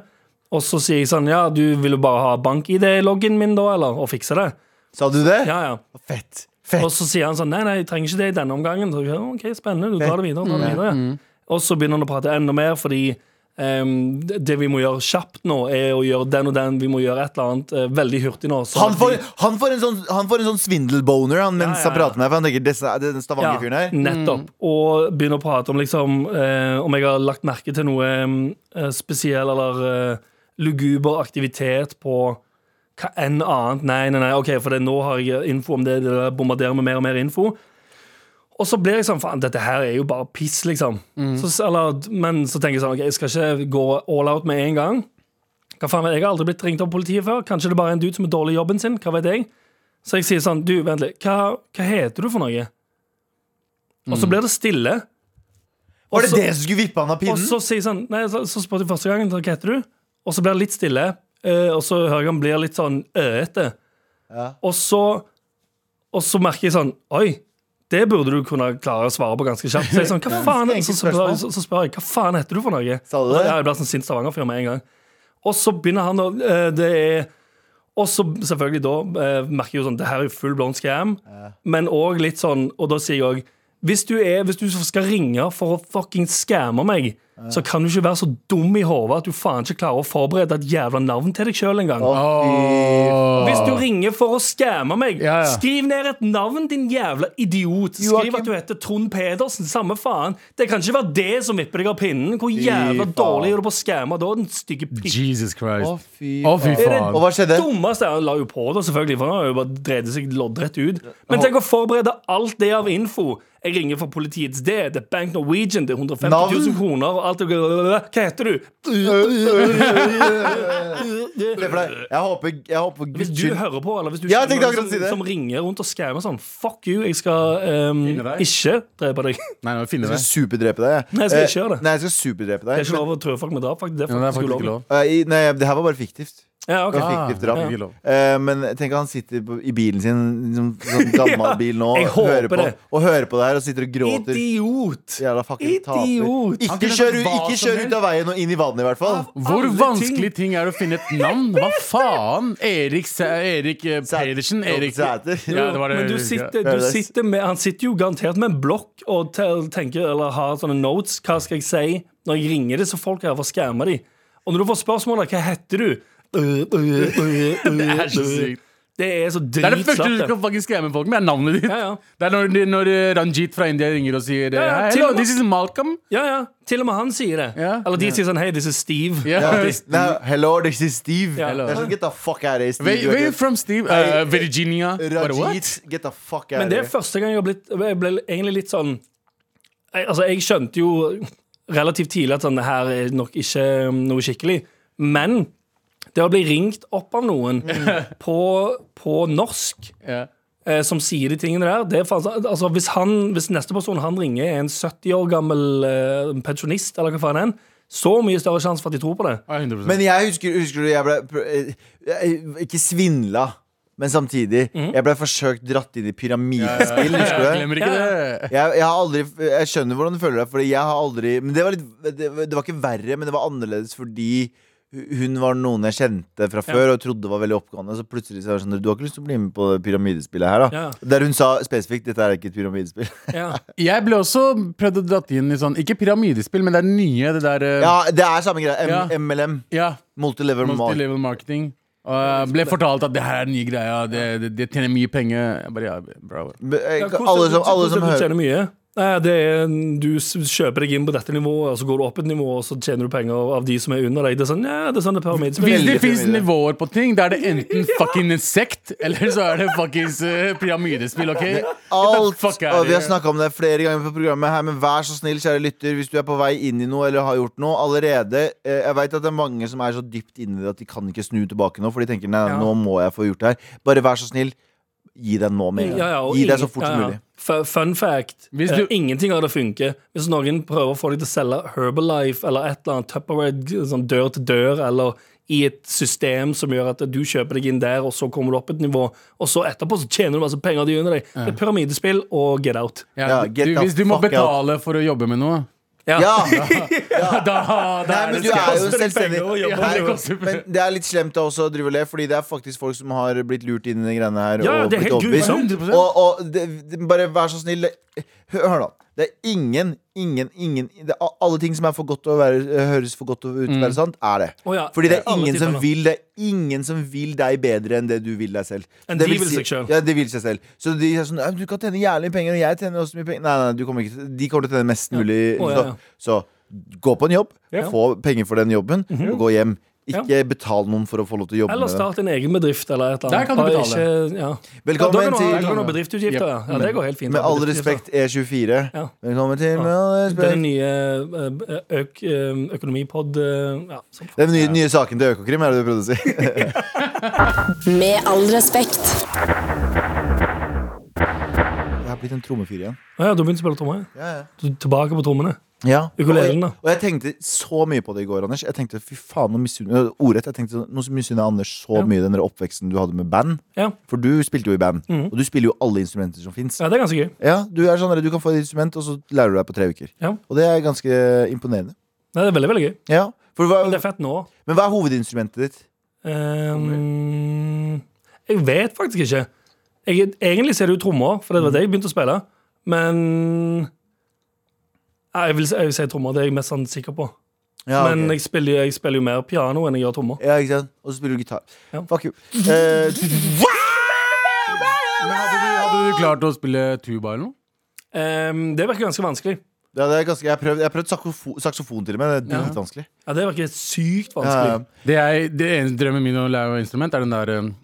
C: og så sier jeg sånn Ja, du vil jo bare ha bank-ID-loggen min, da, eller? Og fikse det?
B: Sa du det?
C: Ja, ja.
B: Fett.
C: Og
B: Fett.
C: så sier han sånn Nei, nei, jeg trenger ikke det i denne omgangen. Så, jeg, «Ja, ok, spennende, du tar det videre, tar det videre Og så begynner han å prate enda mer, fordi ehm, det det vi må gjøre kjapt nå, er å gjøre den og den. Vi må gjøre et eller annet eh, veldig hurtig nå. sånn
B: Han
C: at
B: får,
C: vi-
B: han får en sånn, han får en sånn svindelboner han, mens han
C: Ja, ja, ja.
B: prater med deg. For han tenker disse, den Stavanger-fyren her
C: nettopp. Og begynner å prate om liksom eh, om jeg har lagt merke til noe eh, spesiell eller eh, luguber aktivitet på hva enn annet. Nei, nei, nei, ok, for det, nå har jeg info om det. det der, bombarderer med mer og mer info. Og så blir jeg sånn, faen, dette her er jo bare piss, liksom. Så, eller, men så tenker jeg sånn, ok, jeg skal ikke gå all out med en gang. Hva faen vet jeg, jeg har aldri blitt ringt av politiet før. Kanskje det bare er en dude som er dårlig i jobben sin, hva vet jeg. Så jeg sier sånn, du, vent litt, hva, hva heter du for noe? Og
B: Mm.
C: så blir det stille.
B: Var det
C: Og så-
B: det som skulle vippe han av
C: og
B: pinnen?
C: så sier sånn Nei, så, så spurte jeg første gangen, hva heter du? Og så blir det litt stille, eh, og så hører jeg han blir litt sånn øete.
B: Ja.
C: Og så Og så merker jeg sånn Oi, det burde du kunne klare å svare på ganske kjapt. Så jeg sånn, hva faen
B: Enkelt
C: så, så, så,
B: spørsmål.
C: så, så spør jeg, hva faen heter du for noe?
B: Sa du
C: Og
B: det?
C: Ja, jeg ble sånn sint Stavanger-fyr med en gang. Og så begynner han å eh, Det er og så selvfølgelig da eh, merker jeg jo sånn Det her er jo full blown scam. Men òg litt sånn Og da sier jeg òg hvis, du er- hvis du skal ringe for å fucking skamme meg, så kan du ikke være så dum i hodet at du faen ikke klarer å forberede et jævla navn til deg sjøl engang.
B: Å,
D: Åh.
C: Hvis du ringer for å skamme meg,
D: Ja, ja.
C: skriv ned et navn, din jævla idiot. Skriv
B: Joakim.
C: at du heter Trond Pedersen. Samme faen. Det kan ikke være det som vipper deg av pinnen. Hvor jævla
B: faen.
C: dårlig er du på å skamme da, den stygge pikk.
D: Jesus Christ.
B: Å, fy
D: Å, fy faen.
B: Og hva skjedde?
C: Dummeste er han la jo på da, selvfølgelig, for han har jo bare drevet seg loddrett ut. Men tenk å forberede alt det av info. Jeg ringer fra politiets D, det er Bank Norwegian, det er 150 000
B: Navn?
C: kroner og alt det Hva heter du?
B: Se for deg, Jeg håper, jeg håper
C: Hvis du hører på, eller hvis du
B: Ja, jeg
C: kjenner
B: tenkte
C: noen
B: akkurat å si det.
C: som, som ringer rundt og skammer sånn Fuck you, jeg skal ehm,
D: Finne deg.
C: ikke drepe deg.
D: Nei, nå
B: Jeg
D: finner jeg det.
B: skal superdrepe deg. jeg.
C: Nei, jeg skal
B: Eh,
C: ikke gjøre det.
B: Nei, jeg skal superdrepe
C: Det er
B: deg.
C: ikke lov å true folk med drap, faktisk. Det er
D: Ja, det er
C: faktisk
D: faktisk ikke
C: ulovlig.
D: lov.
B: Men, eh, nei, det her var bare fiktivt.
C: Ja, ok.
B: Ah. fiktivt drap.
D: ikke lov.
B: Eh, men tenk at han sitter på, i bilen sin, liksom, sånn gammel
C: Ja,
B: bil nå,
C: jeg
B: og hører,
C: håper
B: på,
C: det.
B: og hører på det her og sitter og gråter.
C: Idiot!
B: Jævla fucking
C: Idiot.
B: taper.
D: Han
B: Ikke
D: kunne
B: kjør, ut-
D: sagt hva
B: ikke
D: som
B: kjør
D: helst.
B: ut av veien og inn i vannet, i hvert fall.
D: Hvor
C: Alle ting.
D: vanskelig ting er det å finne et navn? Hva faen? Erik, Sæ- Erik eh,
B: Sæ-
D: Pedersen? Erik
B: Sæter.
D: Ja, det var det.
C: Men du sitter, du
B: Paradise.
C: sitter med, han sitter jo garantert med en blokk og te- tenker, eller har sånne notes. Hva skal jeg si når jeg ringer disse folk her for å skamme dem? Og når du får spørsmålet 'Hva heter du?' Det
D: er så sykt.
C: Det er så
D: Det er det første du
C: dritslapt.
D: skal faktisk skremme folk med, er navnet ditt.
C: Ja, ja.
D: Det er når, de- når eh, Ranjit fra India ringer og sier eh,
C: Ja, ja,
D: «Hei,
C: til
D: Hello,
C: og med-
D: this is Malcolm.
C: Ja, ja. Til og med han sier det.
D: Ja.
C: Eller de sier sånn 'Hei, this is Steve'.
D: Yeah.
B: Ja, Nei, hello, this is Steve.
C: Ja.
B: Det er sånn, Get the fuck out of here, Steve.
D: Where,
B: Du er
D: where you
B: ikke-
D: from, Steve?
B: Hey,
D: Uh, Virginia. Bare, what?
B: Rajit, get the fuck out
C: Men det
B: of here.
C: er første gang jeg har blitt Jeg ble egentlig litt sånn jeg, Altså, jeg skjønte jo relativt tidlig at sånn, det her er nok ikke um, noe skikkelig. Men det å bli ringt opp av noen på, på norsk
D: Ja.
C: eh, som sier de tingene der det er faen, sånn- altså, hvis, han, hvis neste person han ringer, er en 70 år gammel eh, pensjonist, eller hva faen er han, så mye større sjanse for at de tror på det.
D: Ja, 100%.
B: Men jeg husker, husker du, jeg ble pr- eh, jeg- Ikke svindla, men samtidig. Jeg ble forsøkt dratt inn i pyramidespill, husker du
D: jeg
B: det?
D: glemmer ikke det.
B: Jeg, jeg, har aldri, jeg skjønner hvordan du føler deg, Fordi jeg har aldri Men det var, litt, det, det var ikke verre, men det var annerledes fordi hu- hun var noen jeg kjente fra før og trodde var veldig oppegående. Så plutselig så var det sånn Du har ikke lyst til å bli med på det pyramidespillet her, da?
C: Ja.
B: Der hun sa spesifikt dette er ikke et pyramidespill.
C: Ja.
D: Jeg ble også prøvd å dratt inn i sånn Ikke pyramidespill, men det er nye, det der eh,
B: Ja, det er samme greia. M
D: Ja.
B: MLM.
D: ja,
B: Multilevel marketing.
D: Multilevel marketing. Og jeg ble fortalt at det her er den nye greia, det, det, det tjener mye penger. Jeg bare, ja, bra.
C: Ja, hvordan-
B: Alle som, alle
C: hvordan
B: som
C: du
B: hører
C: tjener mye? Nei, det er, du s- kjøper deg inn på dette nivået, og så går du opp et nivå, og så tjener du penger av de som er under deg. Det er sånn, ja, det er sånn det er
D: Hvis
C: pyramidespill.
D: det
B: Veldig
D: fins
B: pyramide.
D: nivåer på ting, da er det enten fucking en sekt, eller så er det fuckings eh, pyramidespill, OK? Get the
B: Alt,
D: fuck out
B: og
D: of
B: vi har
D: here.
B: snakka om det flere ganger på programmet her, men vær så snill, kjære lytter, hvis du er på vei inn i noe eller har gjort noe allerede eh, Jeg veit at det er mange som er så dypt inni det at de kan ikke snu tilbake nå, for de tenker nei,
C: Ja.
B: nå må jeg få gjort det her. Bare vær så snill, gi deg nå med en
C: Ja, ja,
B: gang.
C: og
B: Gi
C: ingen-
B: deg så fort
C: ja,
B: som
C: ja.
B: mulig.
C: Fu- Fun fact.
D: Hvis du-
C: eh, ingenting av det funker. Hvis noen prøver å få deg til å selge Herbalife eller et eller annet Tupperware g- sånn dør til dør, eller i et system som gjør at du kjøper deg inn der, og så kommer du opp et nivå, og så etterpå så tjener du masse penger av de under deg. Det er pyramidespill og get out.
D: Ja,
B: Ja, get
D: du,
B: the
D: hvis du må
B: fuck out.
D: betale for å jobbe med noe,
B: Ja!
D: da, da
B: Nei,
D: er
B: men
D: det
B: du er
D: skam.
B: jo en
C: Koster det penger
B: selvstendig
C: å jobbe?
B: Nei,
D: Ja, det koster
B: Men det er litt slemt da også å drive og le, Fordi det er faktisk folk som har blitt lurt inn i de greiene her.
C: Ja,
B: og
C: det
B: blitt
C: er helt
B: overbevist.
C: grusomt.
D: 100%.
B: Og, og det, det, bare vær så snill det- Hør, hør da. Det er ingen, ingen, ingen det, er Alle ting som er for godt til å være, høres for godt til å ut til å være
C: Mm.
B: sant, er det.
C: Å ja,
B: Fordi det
C: det er
B: er
C: alle
B: ingen som
C: tilfeller.
B: vil Det er ingen som vil deg bedre enn det du vil deg selv.
C: Enn
B: Det
C: de vil seg
B: si-
C: selv.
B: Ja, de vil seg selv. Så de er sånn «Ja, Du kan tjene jævlig mye penger, og jeg tjener også mye penger. Nei, nei, du kommer ikke til De kommer til å tjene mest mulig.
C: Å, ja, ja. Mhm.
B: Så, så gå på en jobb, få penger for den jobben, og gå hjem. Ikke betal noen for å få lov til å jobbe
C: Eller
B: med det.
C: start en egen bedrift eller et eller
D: Der
C: annet.
D: kan du
C: Bare
D: betale.
C: Ikke, ja.
B: Velkommen
C: ja, da kan du ha-
B: til-
C: da kan du ha bedriftsutgifter, ja. ja. Det går helt fint.
B: Med
C: da,
B: all respekt E24.
C: bedriftsutgifter. Ja.
B: Velkommen til Med
C: Ja.
B: all
C: Det er den
B: respekt.
C: nye eh, øk, eh, økonomipod... eh, Ja, sånn.
B: Den nye, nye saken til Økokrim er det du prøvde å si.
A: Med all respekt.
B: Jeg har blitt en trommefyr igjen.
C: Å ja, du begynte å spille trommer? ja.
B: Ja, ja.
C: Du er Tilbake på trommene.
B: Ja.
C: Ukulelen, da.
B: Og, og jeg tenkte så mye på det i går, Anders. Jeg tenkte fy faen, nå misunner ordrett, jeg tenkte sånn, nå misunner jeg Anders så
C: Ja.
B: mye den der oppveksten du hadde med band.
C: Ja. Mhm.
B: For du spilte jo i band, og du spiller jo alle instrumenter som fins.
C: ja, det er ganske gøy.
B: Ja, du er sånn der, du kan få et instrument, og så lærer du deg på tre uker.
C: Ja.
B: Og det er ganske imponerende.
C: Nei, det er veldig, veldig gøy.
B: Ja. For
C: Men
B: hva,
C: det er fett nå.
B: men hva er hovedinstrumentet ditt?
C: Ehm, jeg vet faktisk ikke. Jeg, egentlig ser det ut trommer, for det var det jeg begynte å spille. Men Nei, jeg, vil, si- jeg vil si trommer. Det er jeg mest sånn sikker på.
B: Ja,
C: Men
B: ok.
C: jeg spiller, jeg spiller jo mer piano enn jeg gjør trommer.
B: ja, ikke sant? Og så spiller du gitar.
C: Ja.
B: Fuck you. Eh,
D: Men hadde, du, hadde du klart å spille tuba eller noe?
C: Ehm, det virker ganske vanskelig.
B: ja, det er ganske, jeg har prøvd, jeg har prøvd saksofon, saksofon til og med. Det er dritvanskelig.
C: Ja, Det virker sykt
B: Ja,
C: vanskelig.
B: ja.
D: Det, jeg, det eneste drømmen min om å lære meg instrument, er den der um,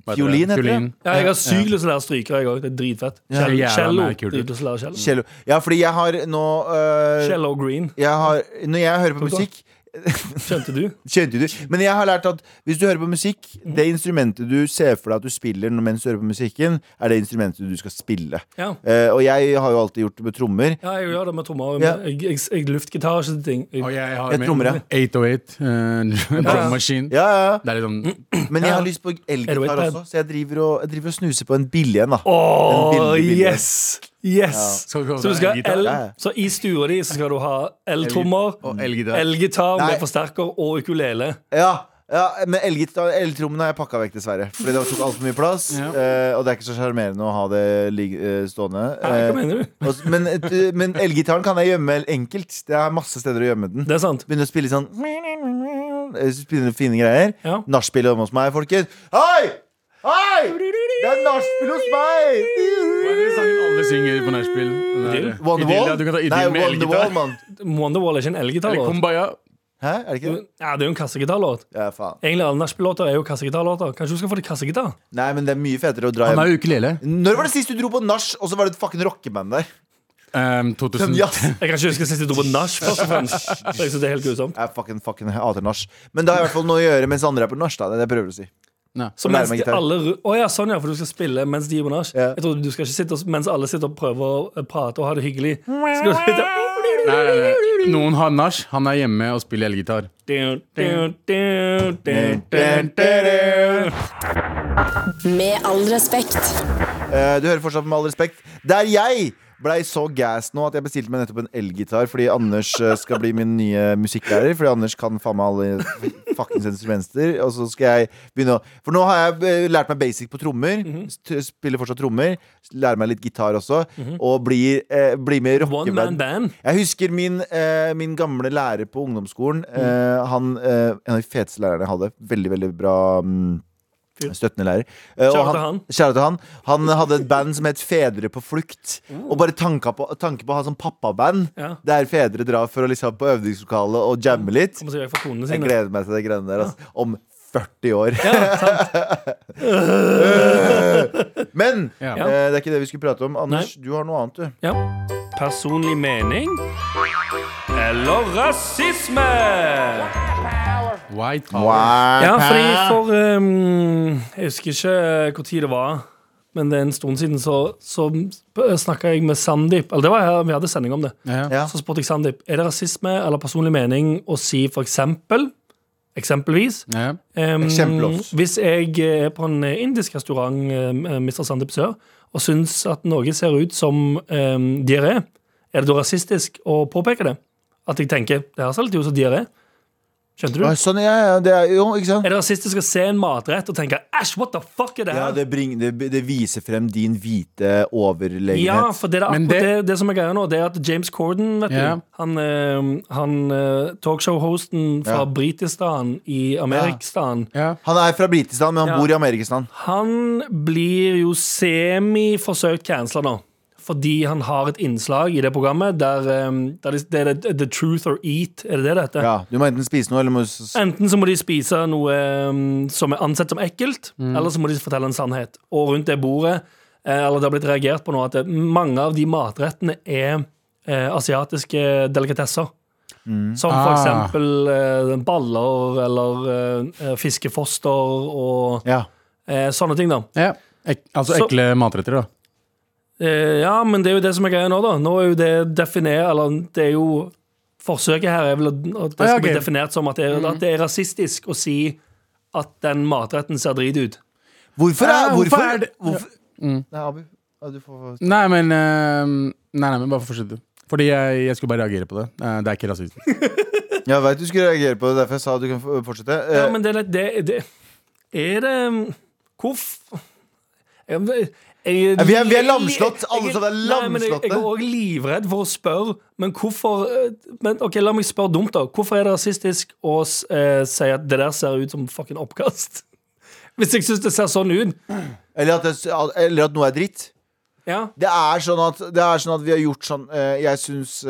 D: hva heter
B: Fiolin
D: det?
B: heter det.
D: Fiolin.
C: Ja, jeg har sykt lyst til å lære strykere, jeg òg. Det er dritfett.
B: Ja,
D: det er jævla
C: Cello.
D: mer kult.
C: Dritlyst til å lære cello.
B: Cello. Ja, fordi jeg har nå eh,
C: Cello green.
B: jeg har, Når jeg hører på
C: Tok du?
B: musikk
C: Skjønte du?
B: Skjønte du? Men jeg har lært at hvis du hører på musikk,
C: Mm.
B: det instrumentet du ser for deg at du spiller når- mens du hører på musikken, er det instrumentet du skal spille.
C: Ja.
B: Eh, og jeg har jo alltid gjort det med trommer.
C: Ja, jeg gjør det med trommer.
B: Ja.
C: Jeg, jeg, jeg luftgitar og sånne ting.
D: Og
C: Jeg,
D: jeg har
B: Jeg
D: med
B: trommer, ja.
D: 808. Uh, oh Drummaskin.
B: Ja, ja,
D: Det er litt sånn
B: ja. Men jeg
C: Ja.
B: har lyst på
C: Er du
B: elgitar
C: et
B: også, så jeg driver og, jeg driver og snuser på en billig en. da
C: Åh,
B: Den billige, billige.
C: yes! Yes!
D: Skal vi prøve
C: Så, du
D: å ta
C: skal
D: elgitar?
C: ha el,
B: Ja, ja.
C: så i stua di så skal du ha eltrommer,
D: Og elgitar.
C: elgitar
B: Nei.
C: med forsterker og ukulele.
B: Ja, ja men elgitar- eltrommene har jeg pakka vekk, dessverre. Fordi det tok altfor mye plass.
D: Ja.
B: eh, og det er ikke så sjarmerende å ha det ligg- eh, stående.
C: Hæ,
B: Eh,
C: Hva mener du?
B: og s- men, eh, men elgitaren kan jeg gjemme enkelt. Det er masse steder å gjemme den.
C: Det er sant.
B: Begynner å spille sånn eh, så Begynner å finne greier.
C: Ja.
B: Nachspiel hjemme hos meg, folkens. Hei! Hei! Det er nachspiel hos
D: Hva er den
B: meg!
D: sangen alle synger på nachspiel? Den der,
C: Idyll?
D: eh,
B: Wonderwall?
D: Idyll, ja, Du kan ta
B: Nei,
D: idyll med
B: Wonderwall,
D: elgitar.
B: mann.
C: Wonderwall er ikke en elgitar.
D: Eller
C: låt.
D: Kumbaya.
B: Hæ, er det ikke det?
C: Ja, det er jo en kassegitarlåt.
B: Ja, faen.
C: Egentlig alle nachspiel-låter er jo kassegitarlåter. Kanskje du skal få deg kassegitar?
B: Nei, men det er mye fetere å dra
D: Han har
B: hjem.
D: jo ukulele.
B: Når var det sist du dro på nach, og så var det et fucking rockeband der?
D: Um, 2000.
B: Jazz.
C: Jeg kan ikke huske sist jeg sto på nach, først og fremst. Så jeg synes det er helt grusomt.
B: Jeg fucking, fucking hater nach. Men det har i hvert fall noe å gjøre mens andre er på nach. da. Det er det jeg prøver å si.
D: Nei.
C: Så
B: Lære
C: mens
B: meg
C: de
B: gitar.
C: alle ru- Å ja, sånn ja, for du skal spille mens de er på nach.
B: Ja.
C: Jeg trodde du skal ikke sitte og, mens alle sitter og prøver å eh, prate og ha det hyggelig. Skal du sitte
D: Nei, nei, nei. Noen har nach, han er hjemme og spiller elgitar.
C: Du, du, du, du, du, du.
A: Med all respekt.
B: Eh, Du hører fortsatt med all respekt. Der jeg blei så gassed nå at jeg bestilte meg nettopp en elgitar fordi Anders eh, skal bli min nye musikklærer. Fordi Anders kan faen meg alle fuckings instrumenter. Og så skal jeg begynne å For nå har jeg eh, lært meg basic på trommer. st- Spiller fortsatt trommer. Lærer meg litt gitar også. Og blir, eh, blir med i
C: One man
B: rockeband.
C: band.
B: Jeg husker min, eh, min gamle lærer på ungdomsskolen.
C: Mm.
B: Eh, han, eh, en av de feteste lærerne jeg hadde. Veldig, veldig bra mm,
C: Fyr.
B: støttende lærer. Eh, og
C: Shout out til han.
B: Kjære til han. Han hadde et band som het Fedre på flukt. Og bare tanka på, tanke på å ha sånn pappaband
C: Mm. Ja.
B: der fedre drar for å liksom på øvingslokalet og jamme litt.
C: Kommer seg vekk fra konene
B: Jeg
C: sine.
B: gleder meg til det greiene der. Altså. Om 40 år. Men
D: Ja.
B: eh, det er ikke det vi skulle prate om. Anders, du har noe annet, du.
C: Ja. Personlig mening eller rasisme?
D: White power.
C: Ja,
B: Wow.
C: fordi for um, Jeg husker ikke når det var, men det er en stund siden så, så snakka jeg med Sandeep. Eller det var her vi hadde sending om det.
D: Ja.
B: Ja.
C: Så spurte jeg Sandeep er det rasisme eller personlig mening å si for eksempel Eksempelvis
D: Ja.
C: em,
B: Eksempelvis.
C: Hvis jeg er på en indisk restaurant em, em, Mr. Sandeep Sør og syns at noe ser ut som em, diaré, er det da rasistisk å påpeke det? At jeg tenker det her ser litt ut som diaré. Skjønte du?
B: Ja, Sånn, ja, ja, det er, jo, ikke sant?
C: Er det rasistisk å se en matrett og tenke æsj, what the fuck er det
B: Ja,
C: her?
B: det, bring, det, det viser frem din hvite
C: Ja,
B: overlegenhet.
C: for det er
D: Men
C: akkurat det,
D: det-
C: det, som er greia nå, det er at James Corden, vet
D: Ja.
C: du, han, eh, han eh, talkshow-hosten
B: Ja.
C: fra Britistan i Amerikstan,
D: Ja.
B: Han er fra Britistan, men han
C: Ja.
B: bor i Amerikistan.
C: han blir jo semi-forsøkt cancela nå. Fordi han har et innslag i det programmet der, eh, der de- det er det- The Truth or Eat, er det det det heter?
B: Ja, du må enten spise noe, eller må s-
C: Enten så må de spise noe um, som er ansett som ekkelt, eller så må de fortelle en sannhet. Og rundt det bordet, eh, eller det har blitt reagert på nå, at det- mange av de matrettene er eh, asiatiske delikatesser. Som for
D: Ah.
C: eksempel eh, baller eller eh, fiskefoster og
B: Ja.
C: eh, sånne ting, da.
D: Ja. Ek, altså
C: Så-
D: ekle matretter, da.
C: Eh, ja, men det er jo det som er greia nå, da. Nå er jo det definert Eller det er jo Forsøket her er vel at at det
D: Ah, ja,
C: skal bli
D: ok.
C: definert som at det,
B: Mhm.
C: er, at det er rasistisk å si at den matretten ser drit ut.
B: Hvorfor
D: Ja,
B: er,
D: hvorfor
B: hvorfor
D: er det-
B: hvorfor?
D: Mm.
B: Nei, Abu. Ja, Du får
D: Nei, men eh, Nei, nei, men bare fortsett, du. Fordi jeg, jeg skulle bare reagere på det. Eh, det er ikke rasistisk.
B: Jeg veit du skulle reagere på det, derfor jeg sa du kan f- fortsette.
C: Ja,
B: Eh,
C: men det, er litt- det, det Er det mm, Hvorfor jeg, jeg- jeg-
B: Ja, vi er- vi er lamslått. Alle
C: jeg-
B: sammen er
C: nei, men Jeg, jeg er
B: lamslåtte.
C: òg livredd for å spørre, men hvorfor eh, men, Ok, La meg spørre dumt, da. Hvorfor er det rasistisk å s- eh, si at det der ser ut som fucking oppkast? Hvis jeg syns det ser sånn ut.
B: Eller, at det, eller at noe er dritt.
C: Ja
B: Det er sånn at, det er sånn at vi har gjort sånn eh, Jeg syns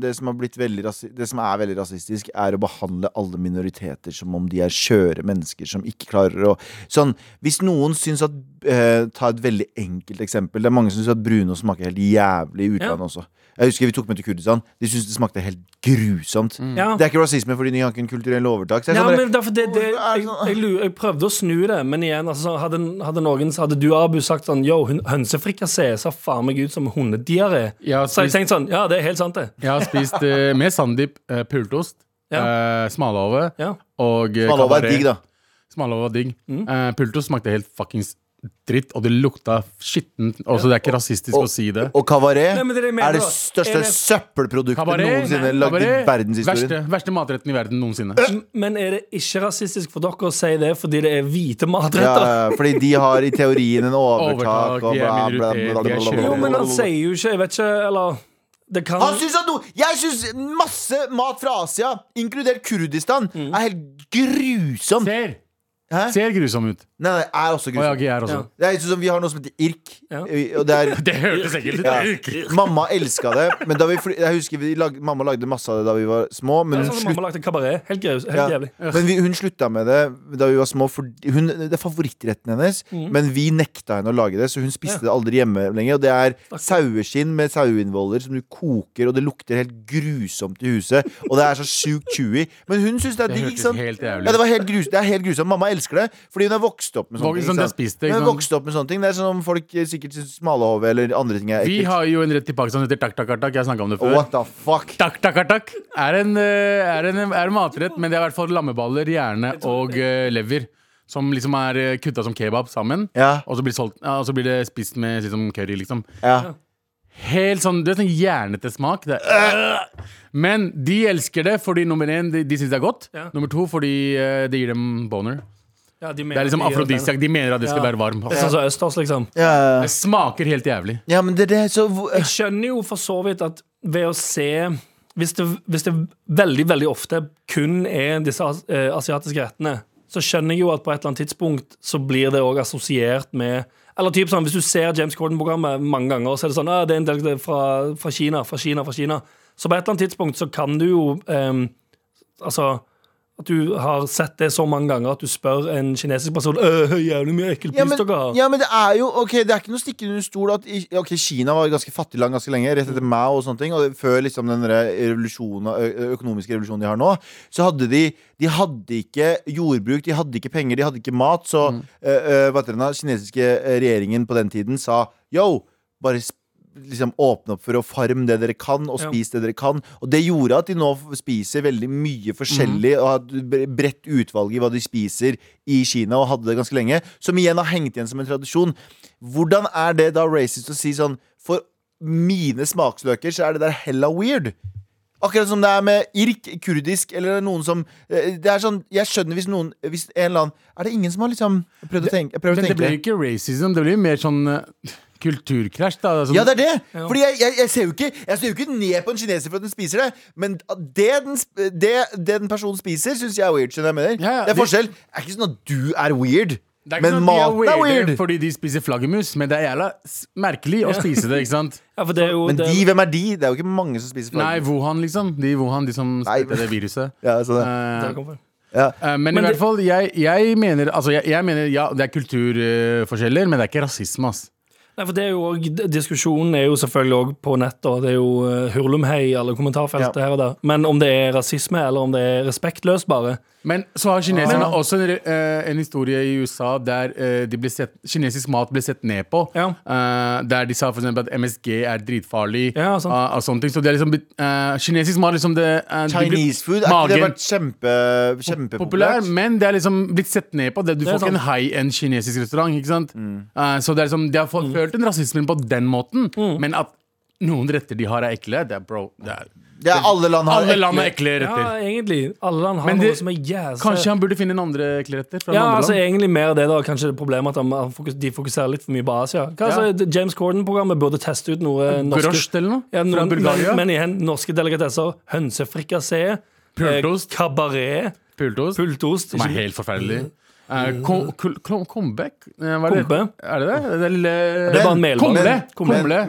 B: det, som har blitt veldig rasi- det som er veldig rasistisk, er å behandle alle minoriteter som om de er skjøre mennesker som ikke klarer å Sånn, Hvis noen syns at eh, Ta et veldig enkelt eksempel. Det er mange som syns at brunost smaker helt jævlig i utlandet
C: Ja.
B: også. Jeg husker Vi tok med til Kurdistan. De syntes det smakte helt grusomt.
C: Ja.
B: Mm. Det er ikke rasisme fordi de har ikke en kulturell overtak. Så jeg
C: Mm. Ja,
B: er sånn bare-
C: men derfor det, det,
B: Hvorfor er
C: jeg,
B: det sånn?
C: jeg, lurer- jeg prøvde å snu det, men igjen altså, sånn, hadde, hadde, noen, hadde du, Abu, sagt sånn Yo, hun- hønsefrikassé ser faen meg ut som hundediaré.
D: Jeg har
C: Så jeg
D: spist,
C: tenkte sånn Ja, det er helt sant, det.
D: jeg har spist eh, med Sandeep uh, pultost,
C: Ja.
D: eh, smalahove
C: Ja.
D: og uh,
B: Smalahove er digg, da.
D: Smalahove var digg. Eh, pultost smakte helt fuckings dritt, og det lukta skittent. Altså, det er ikke rasistisk å si det.
B: Og kabaret
C: Nei, men det er det jeg mener,
B: er det
C: da.
B: største
C: Er det-
B: søppelproduktet
D: Kabaret,
B: noensinne lagd i
D: kabaret,
B: verdenshistorien.
D: verste, verste matretten i verden noensinne.
C: Men er det ikke rasistisk for dere å si det fordi det er
B: Ja,
C: hvite matretter?
B: ja, fordi de har i teorien en overtak
D: Overtak,
B: og
D: de er
B: bla, bla,
D: minoritet,
B: bla, bla,
D: de er
B: bla, bla,
D: skjøre.
C: Jo, men
B: bla.
C: han sier jo ikke Jeg vet ikke, eller Det kan
B: Han syns at noe Jeg syns masse mat fra Asia, inkludert Kurdistan,
D: Mm.
B: er helt grusom. Nei,
D: Ser,
B: Hæ?
D: ser grusom ut.
B: nei, er også
D: Og jeg,
B: grusom.
D: jeg er også.
C: Ja.
B: Det er sånn som Vi har noe som heter irk.
C: Ja.
B: Og det er
D: Det hørtes ekkelt ut.
B: ja. Mamma elska det, men da vi fly, jeg husker vi lag, mamma lagde masse av det da vi var små. Men
C: Det er
B: hun
C: sånn som
B: sluttet
C: Mamma lagde kabaret. Helt, graus, helt
B: Ja.
C: jævlig.
B: Men vi, hun slutta med det da vi var små. For hun, det er favorittretten hennes,
D: Mm.
B: men vi nekta henne å lage det, så hun spiste det aldri hjemme lenger. Og det er saueskinn med saueinnvoller som du koker, og det lukter helt grusomt i huset. Og det er så sjukt chewy. Men hun syns det er
D: Det
B: digg,
D: hørtes
B: ikke sant?
D: helt jævlig
B: Ja, det, var helt grus, det er helt grusomt. Mamma elsker det, fordi hun er vokst opp med sånne
D: Vok-
B: ting.
D: som
B: ikke
D: de
B: sant?
D: spiste,
B: Hun
D: ikke
B: er
D: sant?
B: vokst opp med sånne ting. Det er sånn om folk eh, sikkert syns smalahove eller andre ting er
D: Vi
B: ekkelt.
D: har jo en rett til Pakistan som heter tak-tak-tak. Jeg snakka om det før.
B: What the fuck?
D: Tak-tak-tak er, en, eh, er, en- er en matrett, men det er i hvert fall lammeballer, hjerne og eh, lever. Som liksom er eh, kutta som kebab sammen.
B: Ja.
D: Og, så blir solgt, ja, og så blir det spist med liksom, curry, liksom.
B: Ja.
D: Helt sånn, du vet sånn hjernete smak. Det er, men de elsker det fordi nummer én, de, de syns det er godt.
C: Ja.
D: Nummer to, fordi eh, det gir dem boner.
C: Ja, de mener
D: Det er liksom
C: at de-
D: afrodisiak. De mener at det skal
C: Ja.
D: være varm.
C: Det
D: Altså,
C: er sånn som østers, liksom.
B: Ja,
D: Det smaker helt jævlig.
B: ja men det, det er så hvor-
C: Jeg skjønner jo for så vidt at ved å se Hvis det, hvis det veldig, veldig ofte kun er disse as- eh, asiatiske rettene, så skjønner jeg jo at på et eller annet tidspunkt så blir det òg assosiert med Eller typ sånn, Hvis du ser James Corden-programmet mange ganger, så er det sånn ah, det er en del fra, fra Kina, fra Kina, fra Kina. Så på et eller annet tidspunkt så kan du jo ehm, Altså at du har sett det så mange ganger at du spør en kinesisk person «Øh, jævlig mye ekkel
B: Ja
C: pis
B: men,
C: dere har.
B: ja, men det er jo Ok, det er ikke noe å stikke under stol at i- Ok, Kina var et ganske fattig land ganske lenge, rett etter Mao og sånne ting. Og det- før liksom den der revolusjonen, ø- ø- økonomiske revolusjonen de har nå, så hadde de De hadde ikke jordbruk, de hadde ikke penger, de hadde ikke mat. Så
C: Mm.
B: ø, ø, hva heter det nå, kinesiske ø, regjeringen på den tiden sa yo, bare sp- Liksom åpne opp for å farme det dere kan, og
C: Ja.
B: spise det dere kan. Og det gjorde at de nå f- spiser veldig mye forskjellig,
D: Mhm.
B: og har et bre- bredt utvalg i hva de spiser i Kina, og hadde det ganske lenge. Som igjen har hengt igjen som en tradisjon. Hvordan er det da racist å si sånn For mine smaksløker så er det der hella weird. Akkurat som det er med irk, kurdisk eller noen som eh, Det er sånn, Jeg skjønner hvis noen hvis en eller annen, Er det ingen som har liksom prøvd å tenke, prøvd å
D: Men det
B: tenke
D: blir jo ikke racism, det blir jo mer sånn eh, kulturkrasj. da. Sånn-
B: Ja, det er det! Fordi jeg, jeg, jeg, ser jo ikke, jeg ser jo ikke ned på en kineser for at den spiser det, men det den, sp- det, det den personen spiser, syns jeg er weird. skjønner jeg hva jeg mener
D: Ja, ja,
B: Det er
D: det-
B: forskjell. Det er ikke sånn at du er weird.
D: Det er
B: Men
D: sånn at de
B: maten er
D: weirde
B: weird.
D: Fordi de spiser flaggermus, men det er jævla s- merkelig å spise det, ikke sant?
C: Ja, for det er jo
B: Men
C: det,
B: de, hvem er de? Det er jo ikke mange som spiser
D: Nei,
B: flaggermus.
D: Wuhan, liksom. De i Wuhan, de som
B: Nei,
D: spredte
B: men-
D: det viruset.
B: Ja, så det.
D: Eh,
C: der kom fra.
B: Ja.
D: eh, men,
C: Men
D: i
C: det-
D: hvert fall, jeg, jeg mener Altså, jeg, jeg mener, ja, det er kulturforskjeller, men det er ikke rasisme, ass.
C: Nei, for det er jo også, Diskusjonen er jo selvfølgelig òg på nettet, og det er jo eh, hurlumhei i alle kommentarfeltet
B: Ja.
C: her og der. Men om det er rasisme, eller om det er respektløst, bare
D: Men så har kineserne
B: Ah.
D: også en, re- eh, en historie i USA der eh, de ble sett, kinesisk mat ble sett ned på.
C: Ja.
D: Eh, der de sa for eksempel at MSG er dritfarlig.
C: Ja, sant.
D: ah, og sånne ting. Så det er liksom blitt, eh, kinesisk mat liksom det, eh, de blir-
B: Chinese food er ikke det
D: magen-
B: vært kjempe,
D: populær,
B: kjempepopulært?
D: men det er liksom blitt sett ned på. Det. Du
C: Det er
D: får ikke en
C: sant.
D: high end kinesisk restaurant. ikke sant?
B: Mm.
D: Eh, så det er liksom, De har
C: Mm.
D: fått ført en rasismen på den måten, men at noen retter de har, er ekle. Det er bro, det er,
B: Ja, alle land har
D: Alle land har ekle
C: Ja, altså-
D: retter.
C: egentlig. Alle land har
D: Men
C: noe
D: det-
C: som er jævlig
D: Kanskje han burde finne en andre ekle retter? fra
C: Ja,
D: andre
C: altså
D: land?
C: egentlig mer det da Kanskje det er problemet at han- han fokus, de fokuserer litt for mye på Asia. Hva, altså, det- James Corden-programmet burde teste ut noe norske
D: Grosj eller noe?
C: ja,
D: fra
C: noen,
D: Bulgaria?
C: men, men igjen, norske delikatesser. Hønsefrikassé. Eh,
D: Pultost.
C: Kabaret.
D: Pultost,
C: Pultost.
D: som er
C: ikke-
D: helt forferdelig. Eh, kom, kul- kom, comeback? Eh, hva er
C: Mm.
D: det?
C: Kombe.
D: Er det det? Det er lille
C: Det var en melbolle.
D: Komble!
B: Men-
D: Komble.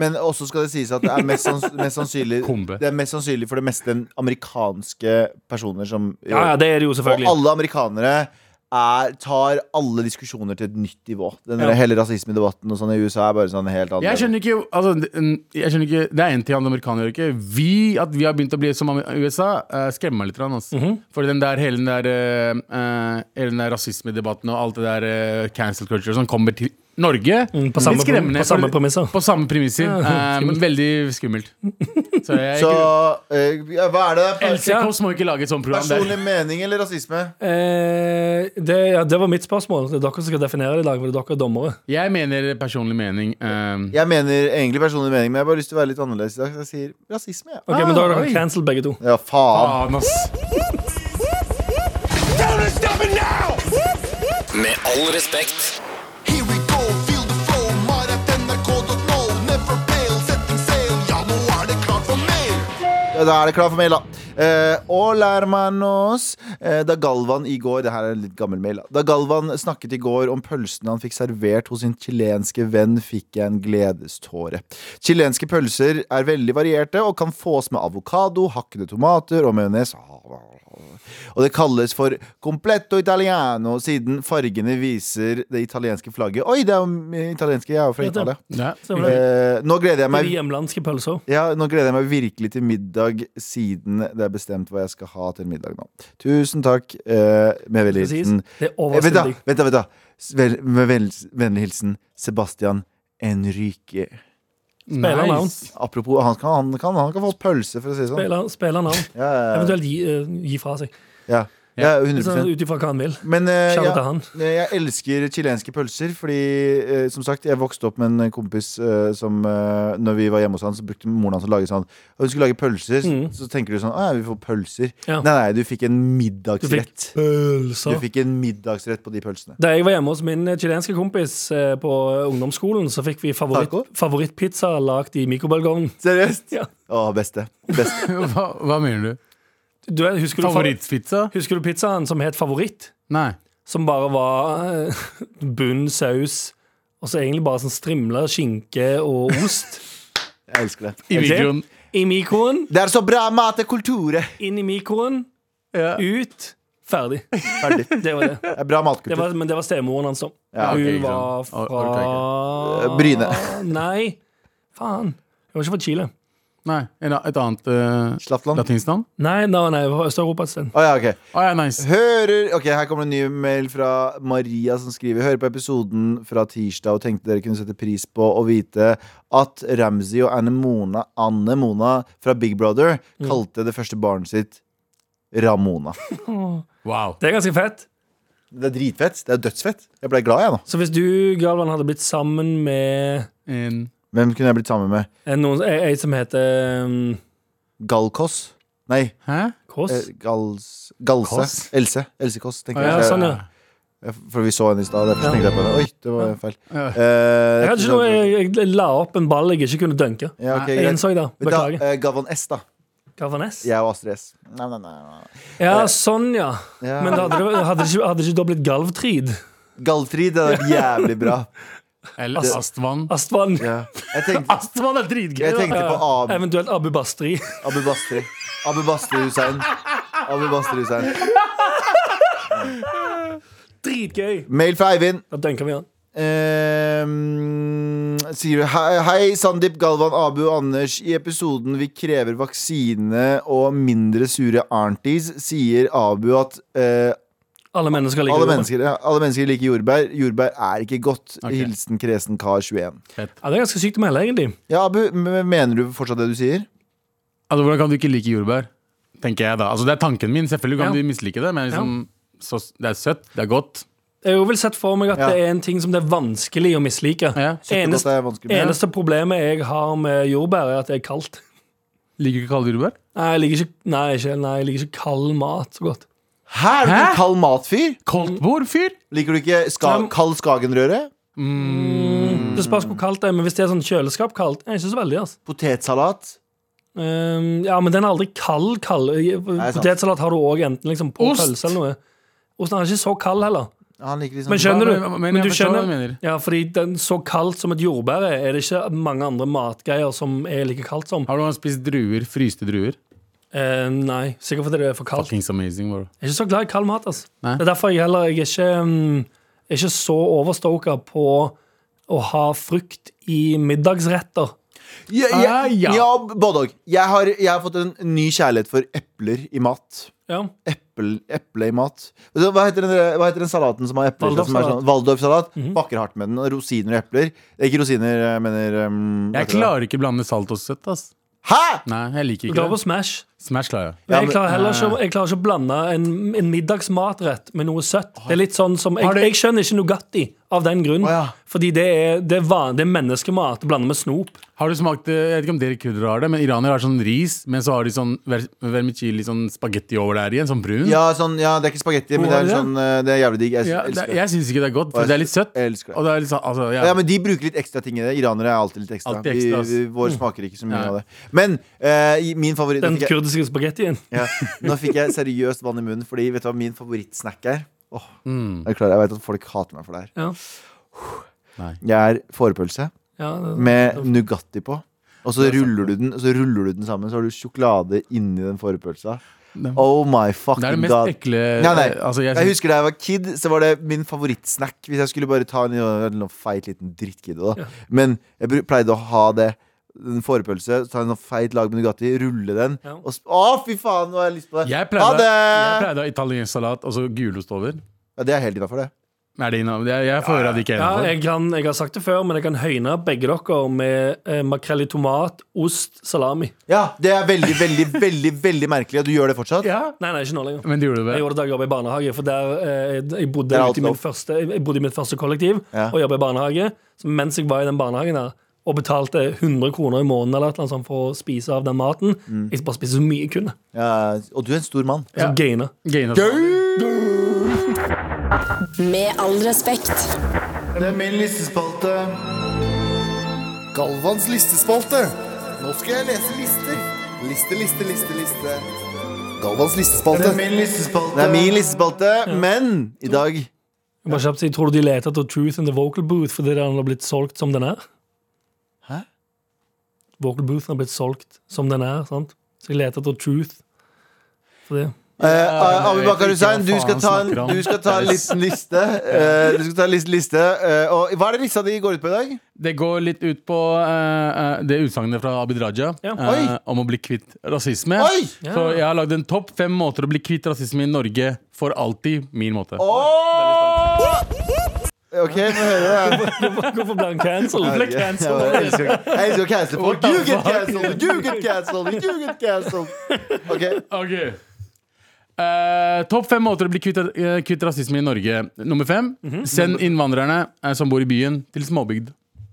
B: Men, men også skal det sies at det er mest, sanns, mest sannsynlig
D: Kombe.
B: Det er mest sannsynlig for det meste en amerikanske personer som
C: Ja, ja, det er det jo
B: Og
C: selvfølgelig.
B: alle amerikanere er, tar alle diskusjoner til et nytt nivå. Den der
C: Ja.
B: hele rasismedebatten og sånn i USA er bare sånn helt
D: Jeg
B: annerledes.
D: skjønner ikke, altså, det- n- jeg skjønner ikke Det er en ting amerikanere gjør ikke. Vi, at vi har begynt å bli som amer- USA, eh, skremmer meg litt. grann, Altså.
C: Mhm.
D: For den der, hele den der, eh, eh, hele den der rasismedebatten og alt det der eh, cancel culture som kommer til Norge.
C: Mm, på samme-
D: litt skremmende,
C: på samme
D: for-
C: premisser.
D: På samme premisser.
C: Ja,
D: Eh,
C: skummelt.
D: veldig skummelt. Så jeg
B: Så eh, ja, hva er det? der?
D: LC Kåss må ikke lage et sånt program der.
B: Personlig mening eller rasisme?
C: Eh, det, ja, det var mitt spørsmål. Det er dere som skal definere det i dag. For det er dere er dommere.
D: Jeg mener personlig mening. eh,
B: Jeg mener egentlig personlig mening, men jeg har bare lyst til å være litt annerledes i dag. Så jeg sier rasisme, ja.
C: Ok, Men da er dere
D: oi.
C: cancel, begge to.
B: Ja, faen.
D: faen, ass.
E: Med all respekt.
F: Here we go, feel the flow, maratnrk.no. Never fail, setting sail, ja nå er det klart for mer.
B: Ja, Da er det klar for mail, da. Eh, hola, hermanos. Eh, da Galvan i går Det her er en litt gammel mail. Da Da Galvan snakket i går om pølsene han fikk servert hos sin chilenske venn, fikk jeg en gledeståre. Chilenske pølser er veldig varierte og kan fås med avokado, hakkede tomater og majones. Og det kalles for completto italiano, siden fargene viser det italienske flagget. Oi, det er jo italienske. Jeg er jo fra
C: Vet du.
B: Italia.
D: Ja.
C: Stemmer det?
B: Eh, nå gleder jeg
C: Det er
B: meg
C: de hjemlandske pølser.
B: ja, nå gleder jeg meg virkelig til middag, siden det er bestemt hva jeg skal ha til middag nå. Tusen takk. eh, med vennlig
C: Precis.
B: hilsen
C: Det er
B: Eh, Vent, da!
C: overraskende.
B: vent da, vent da. S- Vel, Med vel- vennlig hilsen Sebastian Enrique.
C: Spiller navn.
D: Nice.
B: Apropos, han kan, han kan, han kan få pølse, for å si det sånn.
C: Spiller, spiller navn.
B: Ja, ja, ja.
C: Eventuelt gi, eh, gi fra seg.
B: ja. ja 100
C: Sånn, Ut ifra hva han vil.
B: Men eh,
C: Shout out til
B: ja,
C: han.
B: jeg elsker chilenske pølser, fordi eh, som sagt, jeg vokste opp med en kompis eh, som eh, Når vi var hjemme hos han, så brukte moren hans å lage sånn Og hun skulle lage pølser, så tenker du sånn Å ja, vi får pølser.
C: Mm. Ja.
B: Nei, nei, du fikk en
C: Du fikk
B: middagsrett. Du
C: pølser.
B: fikk en middagsrett på de pølsene.
C: Da jeg var hjemme hos min chilenske kompis eh, på ungdomsskolen, så fikk vi favoritt,
B: Taco?
C: favorittpizza lagd i mikrobølgeovnen.
B: Seriøst?
C: Ja.
B: Å, beste. beste.
D: Hva, hva mener du?
C: Du, husker, du fa-
D: Favorittpizza?
C: husker du pizzaen som het Favoritt?
D: Nei.
C: Som bare var eh, bunn, saus, og så egentlig bare sånn strimla skinke og ost.
B: Jeg elsker det.
D: I
C: Er det?
D: mikroen.
C: I mikroen,
B: Det er så bra mat og kultur! eh.
C: inn i mikroen,
D: Ja.
C: ut. Ferdig.
B: Ferdig.
C: Det var det.
B: Det er bra
C: det
B: matkultur.
C: var, men det var stemoren hans, da.
B: Ja,
D: ok,
C: Hun
D: ikke
C: var
D: sant. Or- orker
C: fra
B: Eh, Bryne.
C: Nei, faen. Hun var ikke fra Chile.
D: Nei, en, et annet uh,
B: Slatland.
D: latinsk navn?
C: Nei, nei, nei, fra Øst-Europa et sted.
B: Å ja, ok.
D: Å ja, nice.
B: Hører Ok, her kommer en ny mail fra Maria som skriver Hører på episoden fra tirsdag og tenkte dere kunne sette pris på å vite at Ramsey og Anne Mona, Anne Mona fra Big Brother
C: Mm.
B: kalte det første barnet sitt Ramona.
D: Wow.
C: Det er ganske fett.
B: Det er dritfett. Det er dødsfett. Jeg ble glad, jeg nå.
C: Så hvis du, Galvan, hadde blitt sammen med
D: En,
B: Hvem kunne jeg blitt sammen med?
C: en, noen, en, en som heter um,
B: Galkås? Nei,
D: hæ?
C: Kåss?
B: eh, Gals, Galse.
D: Kåss?
B: Else. Else Kåss,
D: Eh,
B: tenker
C: Å ja,
B: jeg.
C: sånn, ja.
B: Jeg- For vi så henne i stad, derfor tenkte jeg på det. Oi, det var feil.
D: Ja.
B: Eh,
C: Jeg, hadde ikke noe, jeg, jeg la opp en ball jeg ikke kunne dunke.
B: ja, ok,
C: Jeg
B: greit.
C: innså det.
B: Men da,
C: Beklager.
B: eh, Galvan S, da.
C: Galvan S?
B: Jeg og Astrid S. Nei, nei, nei, nei.
C: Ja, sånn, ja.
B: Ja.
C: Men da hadde det, hadde det, ikke, hadde det ikke da blitt galvtrid?
B: Galdhøpigg hadde vært jævlig bra.
D: Eller Astvan.
C: Astvan.
B: Ja. Jeg, tenkte,
D: Astvan er dritgøy!
B: jeg
D: da.
B: tenkte på Ab
C: Eventuelt Abu Bastri.
B: Abu Bastri. Abu Bastri Hussein. Abu Bastri Hussein.
C: Dritgøy!
B: Mail fra Eivind.
C: Da dønker vi han.
B: Ehm, sier du Hei, hei Sandeep, Galvan, Abu og Anders. I episoden vi krever vaksine og mindre sure aunties, sier Abu at eh,
C: Alle mennesker liker
B: alle,
C: jorda.
B: mennesker, ja, alle mennesker liker jordbær. Jordbær er ikke godt.
D: Ok.
B: Hilsen kresen kar 21.
C: Ja, det er ganske sykt å melde, egentlig.
B: Ja, Abu, m- mener du fortsatt det du sier?
D: Altså, hvordan kan du ikke like jordbær? Tenker jeg da. Altså, det er tanken min. Selvfølgelig kan
C: Ja.
D: du mislike det, men liksom, så, det er søtt, det er godt.
C: Jeg har jo vel sett for meg at
B: Ja.
C: det er en ting som det er vanskelig å mislike.
D: Ja.
B: Godt
C: Eneste,
B: er vanskelig, men-
C: eneste problemet jeg har med jordbær, er at det er kaldt.
D: Liker du ikke kalde jordbær?
C: Nei, jeg liker ikke, nei, ikke, nei, jeg liker ikke kald mat så godt.
B: Hæ? Er du
D: Hæ?
B: en kald matfyr?
D: Koldtbord, fyr!
B: Liker du ikke ska
C: Nei, men-
B: kald Skagenrøre? Mm.
C: Det spørs hvor kaldt det er, men hvis det er sånn kjøleskap kaldt, er ikke så veldig, altså.
B: Potetsalat?
C: Ehm, ja, men den er aldri kald, kald.
B: sant.
C: Potetsalat har du òg enten liksom på
D: Ost!
C: pølse eller noe. Osten er ikke så kald heller.
B: Han liker liksom
C: Men skjønner du?
D: Hva- hva- men
C: du
D: jeg forstår hva du mener.
C: Ja, fordi den så kaldt som et jordbær er, er det ikke mange andre matgreier som er like kaldt som.
D: Har du noen gang spist druer? Fryste druer?
C: Eh, nei, sikkert fordi det er for kaldt.
D: Fuckings amazing, bro.
C: Jeg er ikke så glad i kald mat. Altså.
D: Nei.
C: Det er derfor jeg heller jeg er ikke, mm, er ikke så overstoka på å ha frukt i middagsretter.
B: Ja,
D: Ah,
B: ja.
D: ja.
B: ja både òg. Jeg, har- jeg har fått en ny kjærlighet for epler i mat.
C: Ja.
B: Eple, eple i mat. Vet du, Hva heter, den, der- hva heter den salaten som har epler? i seg, som er
C: Waldorfsalat.
B: Sånn, Waldorfsalat. Bakker hardt med den. og Rosiner og epler. Ikke rosiner, jeg mener um,
D: Jeg klarer ikke blande salt og søtt, ass.
B: Hæ?!
D: Nei, jeg
C: Du
D: liker ikke
C: klarer på
D: det.
C: Smash.
D: Smash klarer jeg.
B: Ja,
C: Men jeg
B: men-
C: klarer heller ikke, jeg klarer ikke å blande en, en middagsmatrett med noe søtt. Det er litt sånn som, Jeg,
D: Har det-
C: jeg skjønner ikke Nugatti av den grunn.
B: Å, ja.
C: Fordi det er, det, er van, det er menneskemat blanda med snop.
D: Har du smakt eh, Jeg vet ikke om dere kurdere har det, men iranere har sånn ris, men så har de sånn ver vermicelli, sånn spagetti over der igjen, sånn brun.
B: Ja, sånn, ja, det er ikke spagetti, men det er,
D: Hvor er det?
B: sånn, eh, det er jævlig digg. Jeg,
D: Ja, det,
B: elsker det.
D: jeg syns ikke det er godt, for
B: Og jeg
D: det er litt
B: sy-
D: søtt.
B: jeg elsker det.
D: Og det er litt sånn, altså, ja.
B: Ja, men De bruker litt ekstra ting i det. Iranere er alltid litt ekstra.
D: Alltid ekstra, ass.
B: vi, vi, vår smaker ikke så mye
D: Ja.
B: av det. Men eh, i- min favoritt
C: Den
B: nå fikk jeg-
C: kurdiske spagettien.
B: Ja. Nå fikk jeg seriøst vann i munnen, fordi vet du hva min favorittsnack er? Åh,
D: Mm.
B: jeg, klarer, jeg vet at folk hater meg for det her.
C: Ja.
B: Jeg er fårepølse
C: Ja,
B: med Nugatti på. Og så ruller, du den, og så ruller du den sammen, så har du sjokolade inni den fårepølsa. Oh my fucking
D: Det er det mest
B: god.
D: ekle
B: Nei, nei.
D: Altså, jeg,
B: jeg,
D: synes-
B: husker da jeg var kid, så var det min favorittsnack. Hvis jeg skulle bare ta en, en noen feit liten drittkiddo, da. Men jeg bru- pleide å ha det. En fårepølse, så ta en sånn feit lag med Nugatti, rulle den
C: Ja.
B: og sp Å, fy faen, nå har jeg lyst på det!
D: jeg
B: ha
D: pleide
B: det!
D: jeg pleide å ha italiensk salat og så gulost over.
B: Ja, det er helt innafor, det.
D: Er det innom? Jeg, jeg får høre at det ikke er
C: Ja,
D: innafor.
C: jeg, kan, jeg har sagt det før, men jeg kan høyne begge dere med eh, makrell i tomat, ost, salami.
B: Ja, Det er veldig, veldig, veldig veldig merkelig, og du gjør det fortsatt?
D: Ja,
C: Nei, nei, ikke nå lenger.
D: men det gjorde du
C: Jeg
D: vel?
C: gjorde det da jeg jobbet i barnehage, for der eh, jeg bodde
B: Der er alt
C: ute i min
B: lov.
C: første, jeg bodde i mitt første kollektiv
B: Ja.
C: og jobbet i barnehage. Så mens jeg var i den barnehagen der og betalte 100 kroner i måneden eller et eller annet sånt for å spise av den maten,
B: Mm.
C: jeg bare spiste så mye jeg kunne.
B: Ja, og du er en stor mann.
C: Så gaina.
D: Gaina salat.
A: Med all respekt.
F: Det er min listespalte. Galvans listespalte. Nå skal jeg lese lister. Liste, liste, liste, liste. Galvans listespalte. Det er min listespalte.
B: Det er min listespalte, men i dag
C: Jeg Bare kjapt, si, Tror du de leter etter Truth in the Vocal Booth fordi den har blitt solgt som den er?
B: Hæ?
C: Vocal Booth har blitt solgt som den er, sant? Så de leter etter Truth. Fordi
B: Eh, eh, Abu
D: jeg vet
B: Bakar
D: ikke
B: Hussein, du
D: hva faen
B: skal
D: han
B: ta en,
D: snakker om.
B: du skal ta en liten liste. eh, du skal ta en liten liste eh, og Hva er det lista di går ut på i dag?
D: Det går litt ut på eh, eh, det utsagnet fra Abid Raja
C: Ja.
D: eh,
B: Oi.
D: om å bli kvitt rasisme.
B: Oi!
D: Så jeg har lagd en topp fem måter å bli kvitt rasisme i Norge for alltid. Min måte.
B: Ok, få høre det.
C: Hvorfor ble han cancelled? Ble
B: Jeg
C: cancelled.
B: elsker å- jeg elsker å cancel folk. You get cancelled! You get cancelled! You get cancelled! Ok,
D: Ok Eh, Topp fem måter å bli kvitt, eh, kvitt rasisme i Norge. Nummer fem.
C: Mhm.
D: Send innvandrerne eh, som bor i byen, til småbygd.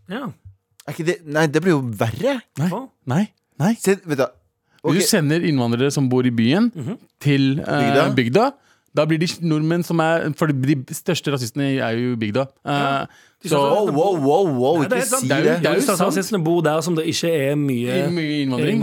C: Ja.
B: er ikke det Nei, det blir jo verre.
D: Nei.
C: Hva?
D: Nei. Nei.
B: Se, vet du, hva. Ok,
C: Mhm.
D: Du sender innvandrere som bor i byen, til eh,
B: Bygda?
D: bygda. Da blir de nordmenn som er For de største rasistene er jo i bygda. Eh, så
C: sa-
B: Wow, wow, wow, wow.
C: det er
B: ikke
C: sant.
B: si
D: Det er jo-
B: det.
D: det er jo sant.
C: Rasistene bor der som det ikke er mye,
D: mye innvandring.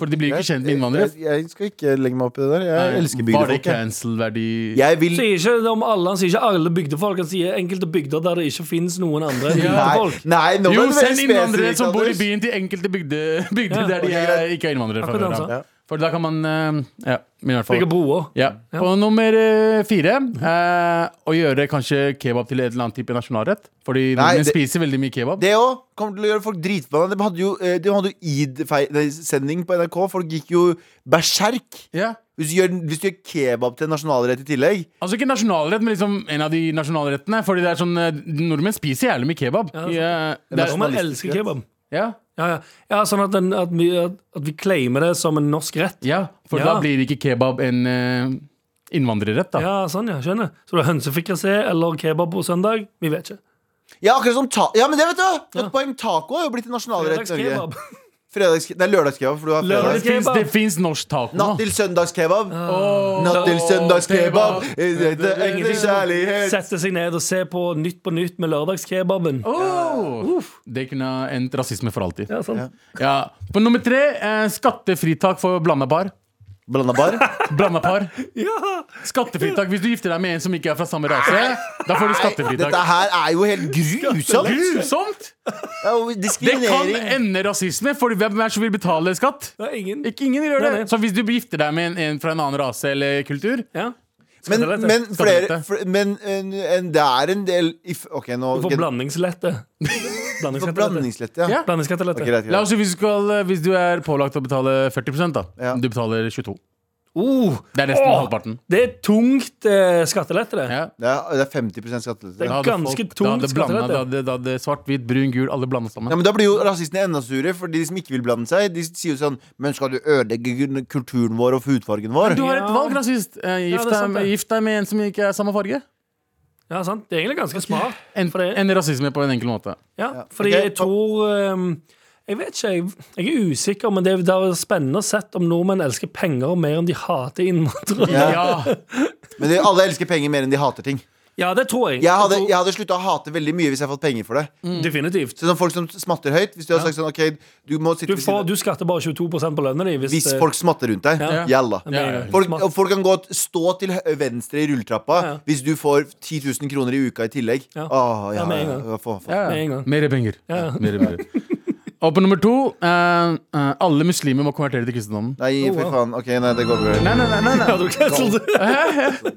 D: For de blir jo ikke kjent med innvandrere. Eh,
B: Jeg, jeg skal ikke legge meg opp i det der. Jeg elsker
D: Var det
B: bygdefolk. jeg.
D: cancel-verdi?
B: Jeg vil
C: Sier ikke det om alle, han sier ikke alle bygdefolk. Han sier enkelte bygder der det ikke finnes noen andre
B: Nei,
C: bygdefolk.
B: nei nå
D: Jo,
B: var det veldig
D: send innvandrere
B: spesifikt,
D: som bor i
B: Anders.
D: byen til enkelte bygder, bygder
C: Ja,
D: der de
B: ok,
D: er,
B: greit.
D: ikke er innvandrere. Fra
C: Akkurat
D: før,
C: sånn.
D: av. For da kan man eh, Ja, men i hvert fall.
C: Bygge broer.
D: Ja. På nummer eh, fire eh, å gjøre kanskje kebab til et eller annet type nasjonalrett. Fordi
B: Nei,
D: nordmenn
B: det-
D: spiser veldig mye kebab.
B: Det òg kommer til å gjøre folk dritforbanna. De hadde jo, eh, de hadde jo id-sending på NRK. Folk gikk jo berserk.
D: Ja.
B: Hvis du gjør, hvis du gjør kebab til en nasjonalrett i tillegg
D: Altså ikke nasjonalrett, men liksom en av de nasjonalrettene. Fordi det er sånn, eh, nordmenn spiser jævlig mye kebab.
C: Ja,
D: Ja, det er, sånn-
C: Nordmenn elsker kebab.
D: ja,
C: Ja, ja. ja sånn at, den, at, vi, at, at vi claimer det som en norsk rett.
D: ja, for
C: Ja.
D: da blir ikke kebab en eh, innvandrerrett, da.
C: Ja, sånn, ja. Skjønner. Så det er hønsefrikassé eller kebab på søndag? Vi vet ikke.
B: Ja, akkurat som ta Ja, men det vet du! Et poeng. Taco har jo blitt en nasjonalrett i Norge.
C: Fredagskebab.
B: Fredags, det er lørdagskebab, for du har
D: Det
B: fredag.
C: Lørdags-
D: fins- Det fins norsk taco nå.
B: Natt til søndagskebab. Natt til
D: kebab.
B: søndagskebab. Eh, Det er ingen kjærlighet.
C: Sette seg ned og se på Nytt på Nytt med lørdagskebaben.
D: Åh, Det kunne ha endt rasisme for alltid.
C: Ja, sånn. sant.
D: Ja. På nummer tre eh, skattefritak for blanda par.
B: Blanda bar.
D: Blanda par.
C: Ja.
D: Skattefritak hvis du gifter deg med en som ikke er fra samme rase. Da får du skattefritak.
B: Dette sånn. her er jo helt grusomt.
D: Grusomt!
B: Det er jo
D: Det kan
B: Diskriminering.
D: ende rasisme, for hvem er det som vil betale skatt?
C: Det er ingen.
D: Ikke ingen gjør det.
C: Nei, nei.
D: Så hvis du gifter deg med en, en fra en annen rase eller kultur
C: Ja.
B: Men,
C: Skal det lette?
B: men,
D: Skal
B: flere,
D: det lette?
B: fl- men en, en, det er en del if, Ok, nå
C: Du får blandingslette. Blandingslette.
B: Blandingsslett, ja.
D: Ja.
C: Blandingslette.
B: Ok, greit,
D: La
B: greit.
D: oss si hvis du, skal, hvis du er pålagt å betale 40 da.
B: Ja.
D: Du betaler 22
C: Oh,
D: Det er nesten
C: Åh.
D: halvparten.
C: det er tungt eh, skattelette, det.
D: Ja.
B: Det er, det er 50 skattelette. Ja.
C: Det
D: Da hadde
C: Ganske tungt
D: folk- Da hadde blanda-
C: skattelette.
D: da hadde- da hadde svart, hvit, brun, gul, alle blanda sammen.
B: men Da blir jo rasistene enda sure, for de som ikke vil blande seg, de sier jo sånn Men skal du ødelegge kulturen vår og hudfargen vår?
D: Du har
C: Ja.
D: et valg, rasist. Eh,
C: Ja,
D: Gift,
C: det er sant,
D: deg,
C: det.
D: gift deg med en som ikke er samme farge.
C: Ja, sant? Det er egentlig ganske smart.
D: En,
C: For det-
D: en rasisme på en enkel måte.
C: Ja, fordi
B: Ok,
C: jeg tror ehm, Jeg vet ikke, jeg, jeg er usikker, men det er, det er spennende å sett om nordmenn elsker penger mer enn de hater innvandrere. Ja.
B: Ja.
D: Ja,
B: Men de, alle elsker penger mer enn de hater ting.
C: det tror jeg.
B: Jeg hadde,
C: tror-
B: jeg hadde slutta å hate veldig mye hvis jeg hadde fått penger for det.
C: Mm. Definitivt.
B: Så sånn folk som smatter høyt Hvis du hadde sagt sånn OK, du må sitte
C: Du,
B: ved
C: får,
B: siden av
C: du skatter bare 22 på lønna di. Hvis, eh,
B: Hvis folk smatter rundt deg,
C: Ja.
B: jalla.
C: Ja, ja, ja.
B: Folk,
C: Smart.
B: og folk kan gå t- stå til hø- venstre i rulletrappa
C: Ja.
B: hvis du får 10 000 kroner i uka i tillegg.
C: Ja.
B: Åh, ja,
C: Ja, med en
B: ja,
C: gang.
B: ja, få- få.
D: ja.
C: Med en gang.
D: Mer penger. Mer penger. Og på nummer to eh, eh, Alle muslimer må konvertere til kristendommen.
B: Nei,
C: Oh,
B: for
C: wow.
B: faen. Ok, nei, det går bra.
D: Nei, nei, nei, nei,
C: Ja,
D: nei.
C: du cancelled det.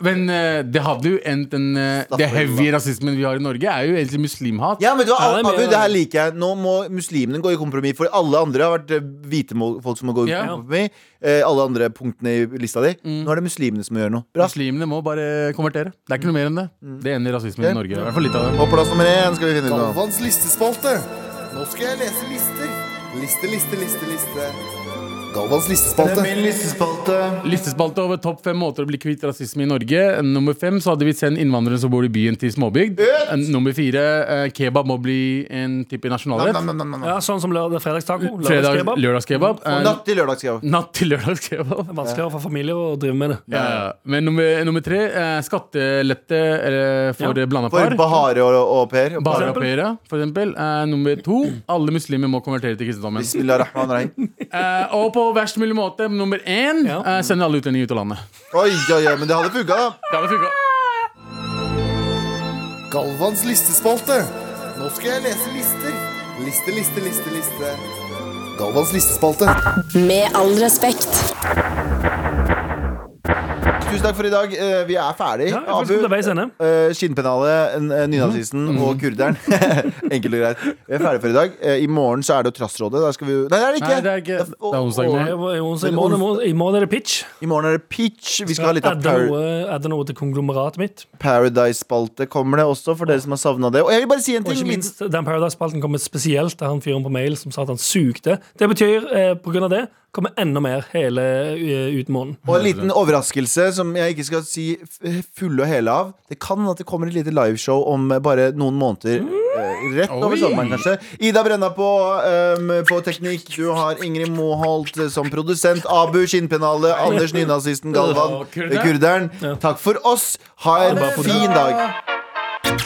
D: Men eh, det hadde jo endt en eh, Det heavy rasismen vi har i Norge, er jo egentlig muslimhat.
B: Ja, men du,
C: Ja, det er mye-
B: Abu, det her liker jeg. Nå må muslimene gå i kompromiss, for alle andre har vært eh, hvite mo- folk som må gå i
D: Ja.
B: kompromiss. Eh, alle andre punktene i lista di.
C: Mm.
B: Nå er det muslimene som må gjøre noe. Bra.
D: Muslimene må bare konvertere. Det er ikke noe mer enn det. Det ender rasismen i Norge. I hvert fall litt av det.
B: På plass nummer én skal vi finne ut noe.
F: Galvans listespalte. Nå skal jeg lese lister. Liste, liste, liste, liste. Galvans listespalte.
B: listespalte.
D: Listespalte over topp fem måter å bli kvitt rasisme i Norge. Nummer fem så hadde vi sendt innvandrere som bor i byen til småbygd. Nummer fire eh, kebab må bli en type nasjonalrett.
B: Nam, nam, nam, nam, nam.
C: Ja, sånn som lørdag, fredagstaco.
D: Fredag,
C: Lørdagskebab.
D: lørdagskebab. eh,
B: Natt til lørdagskebab.
D: natt til lørdagskebab.
C: Vanskeligere for familier å drive med det.
D: Ja, ja. Eh, Men nummer, nummer tre, eh, skattelette eh, for
C: Ja.
D: eh, blanda
B: For
D: par.
B: Bahare og, og Per.
D: Bare europeere, for eksempel. Eh, nummer to, alle muslimer må konvertere til kristendommen.
B: Bismillah rahman rahim.
D: Eh, og på verst mulig måte, nummer én,
C: Ja.
D: eh, sende alle utlendinger ut av landet.
B: Oi, oi, oi, men det hadde funka, da.
D: Det hadde funka.
F: Galvans listespalte. Nå skal jeg lese lister. Liste, liste, liste, liste. Galvans listespalte.
A: Med all respekt.
B: Tusen takk for i dag. Eh, Vi er ferdig.
C: Ja, jeg er faktisk kommet til veis ende.
B: Uh, Skinnpennalet, n- eh, nynazisten og kurderen. Enkelt og greit. Vi er ferdige for i dag. Eh, I morgen så er det jo Trassrådet. Da skal vi jo Nei, det er det ikke!
D: Nei, det er ikke-
B: f- og-
D: det er onsdag i
B: og-
C: Det er jo- i onsdag- I morgen- i morgen- i morgen er det pitch.
B: I morgen er det pitch. Vi skal ha litt av
C: Adde
B: par
C: noe, adde noe til konglomeratet mitt.
B: Paradise-spalte kommer det også, for dere som har savna det. Og jeg vil bare si en
C: Og
B: ting.
C: ikke minst, den Paradise-spalten kommer spesielt til han fyren på mail som sa at han sugde. Det betyr, eh, på grunn av det, kommer enda mer hele eh, ut måneden.
B: Og en liten overraskelse som jeg ikke skal si f- fulle og hele av. Det kan at det kommer et lite liveshow om eh, bare noen måneder. Eh, Rett over
D: Oi.
B: sommeren, kanskje. Ida Brenna på, ehm, på teknikk. Du har Ingrid Moholt eh, som produsent. Abu Skinnpennalet. Anders Nynazisten Galvan. eh,
D: Å, kurder.
B: Kurderen. Takk for oss. Ha en
C: bare for det.
B: fin dag.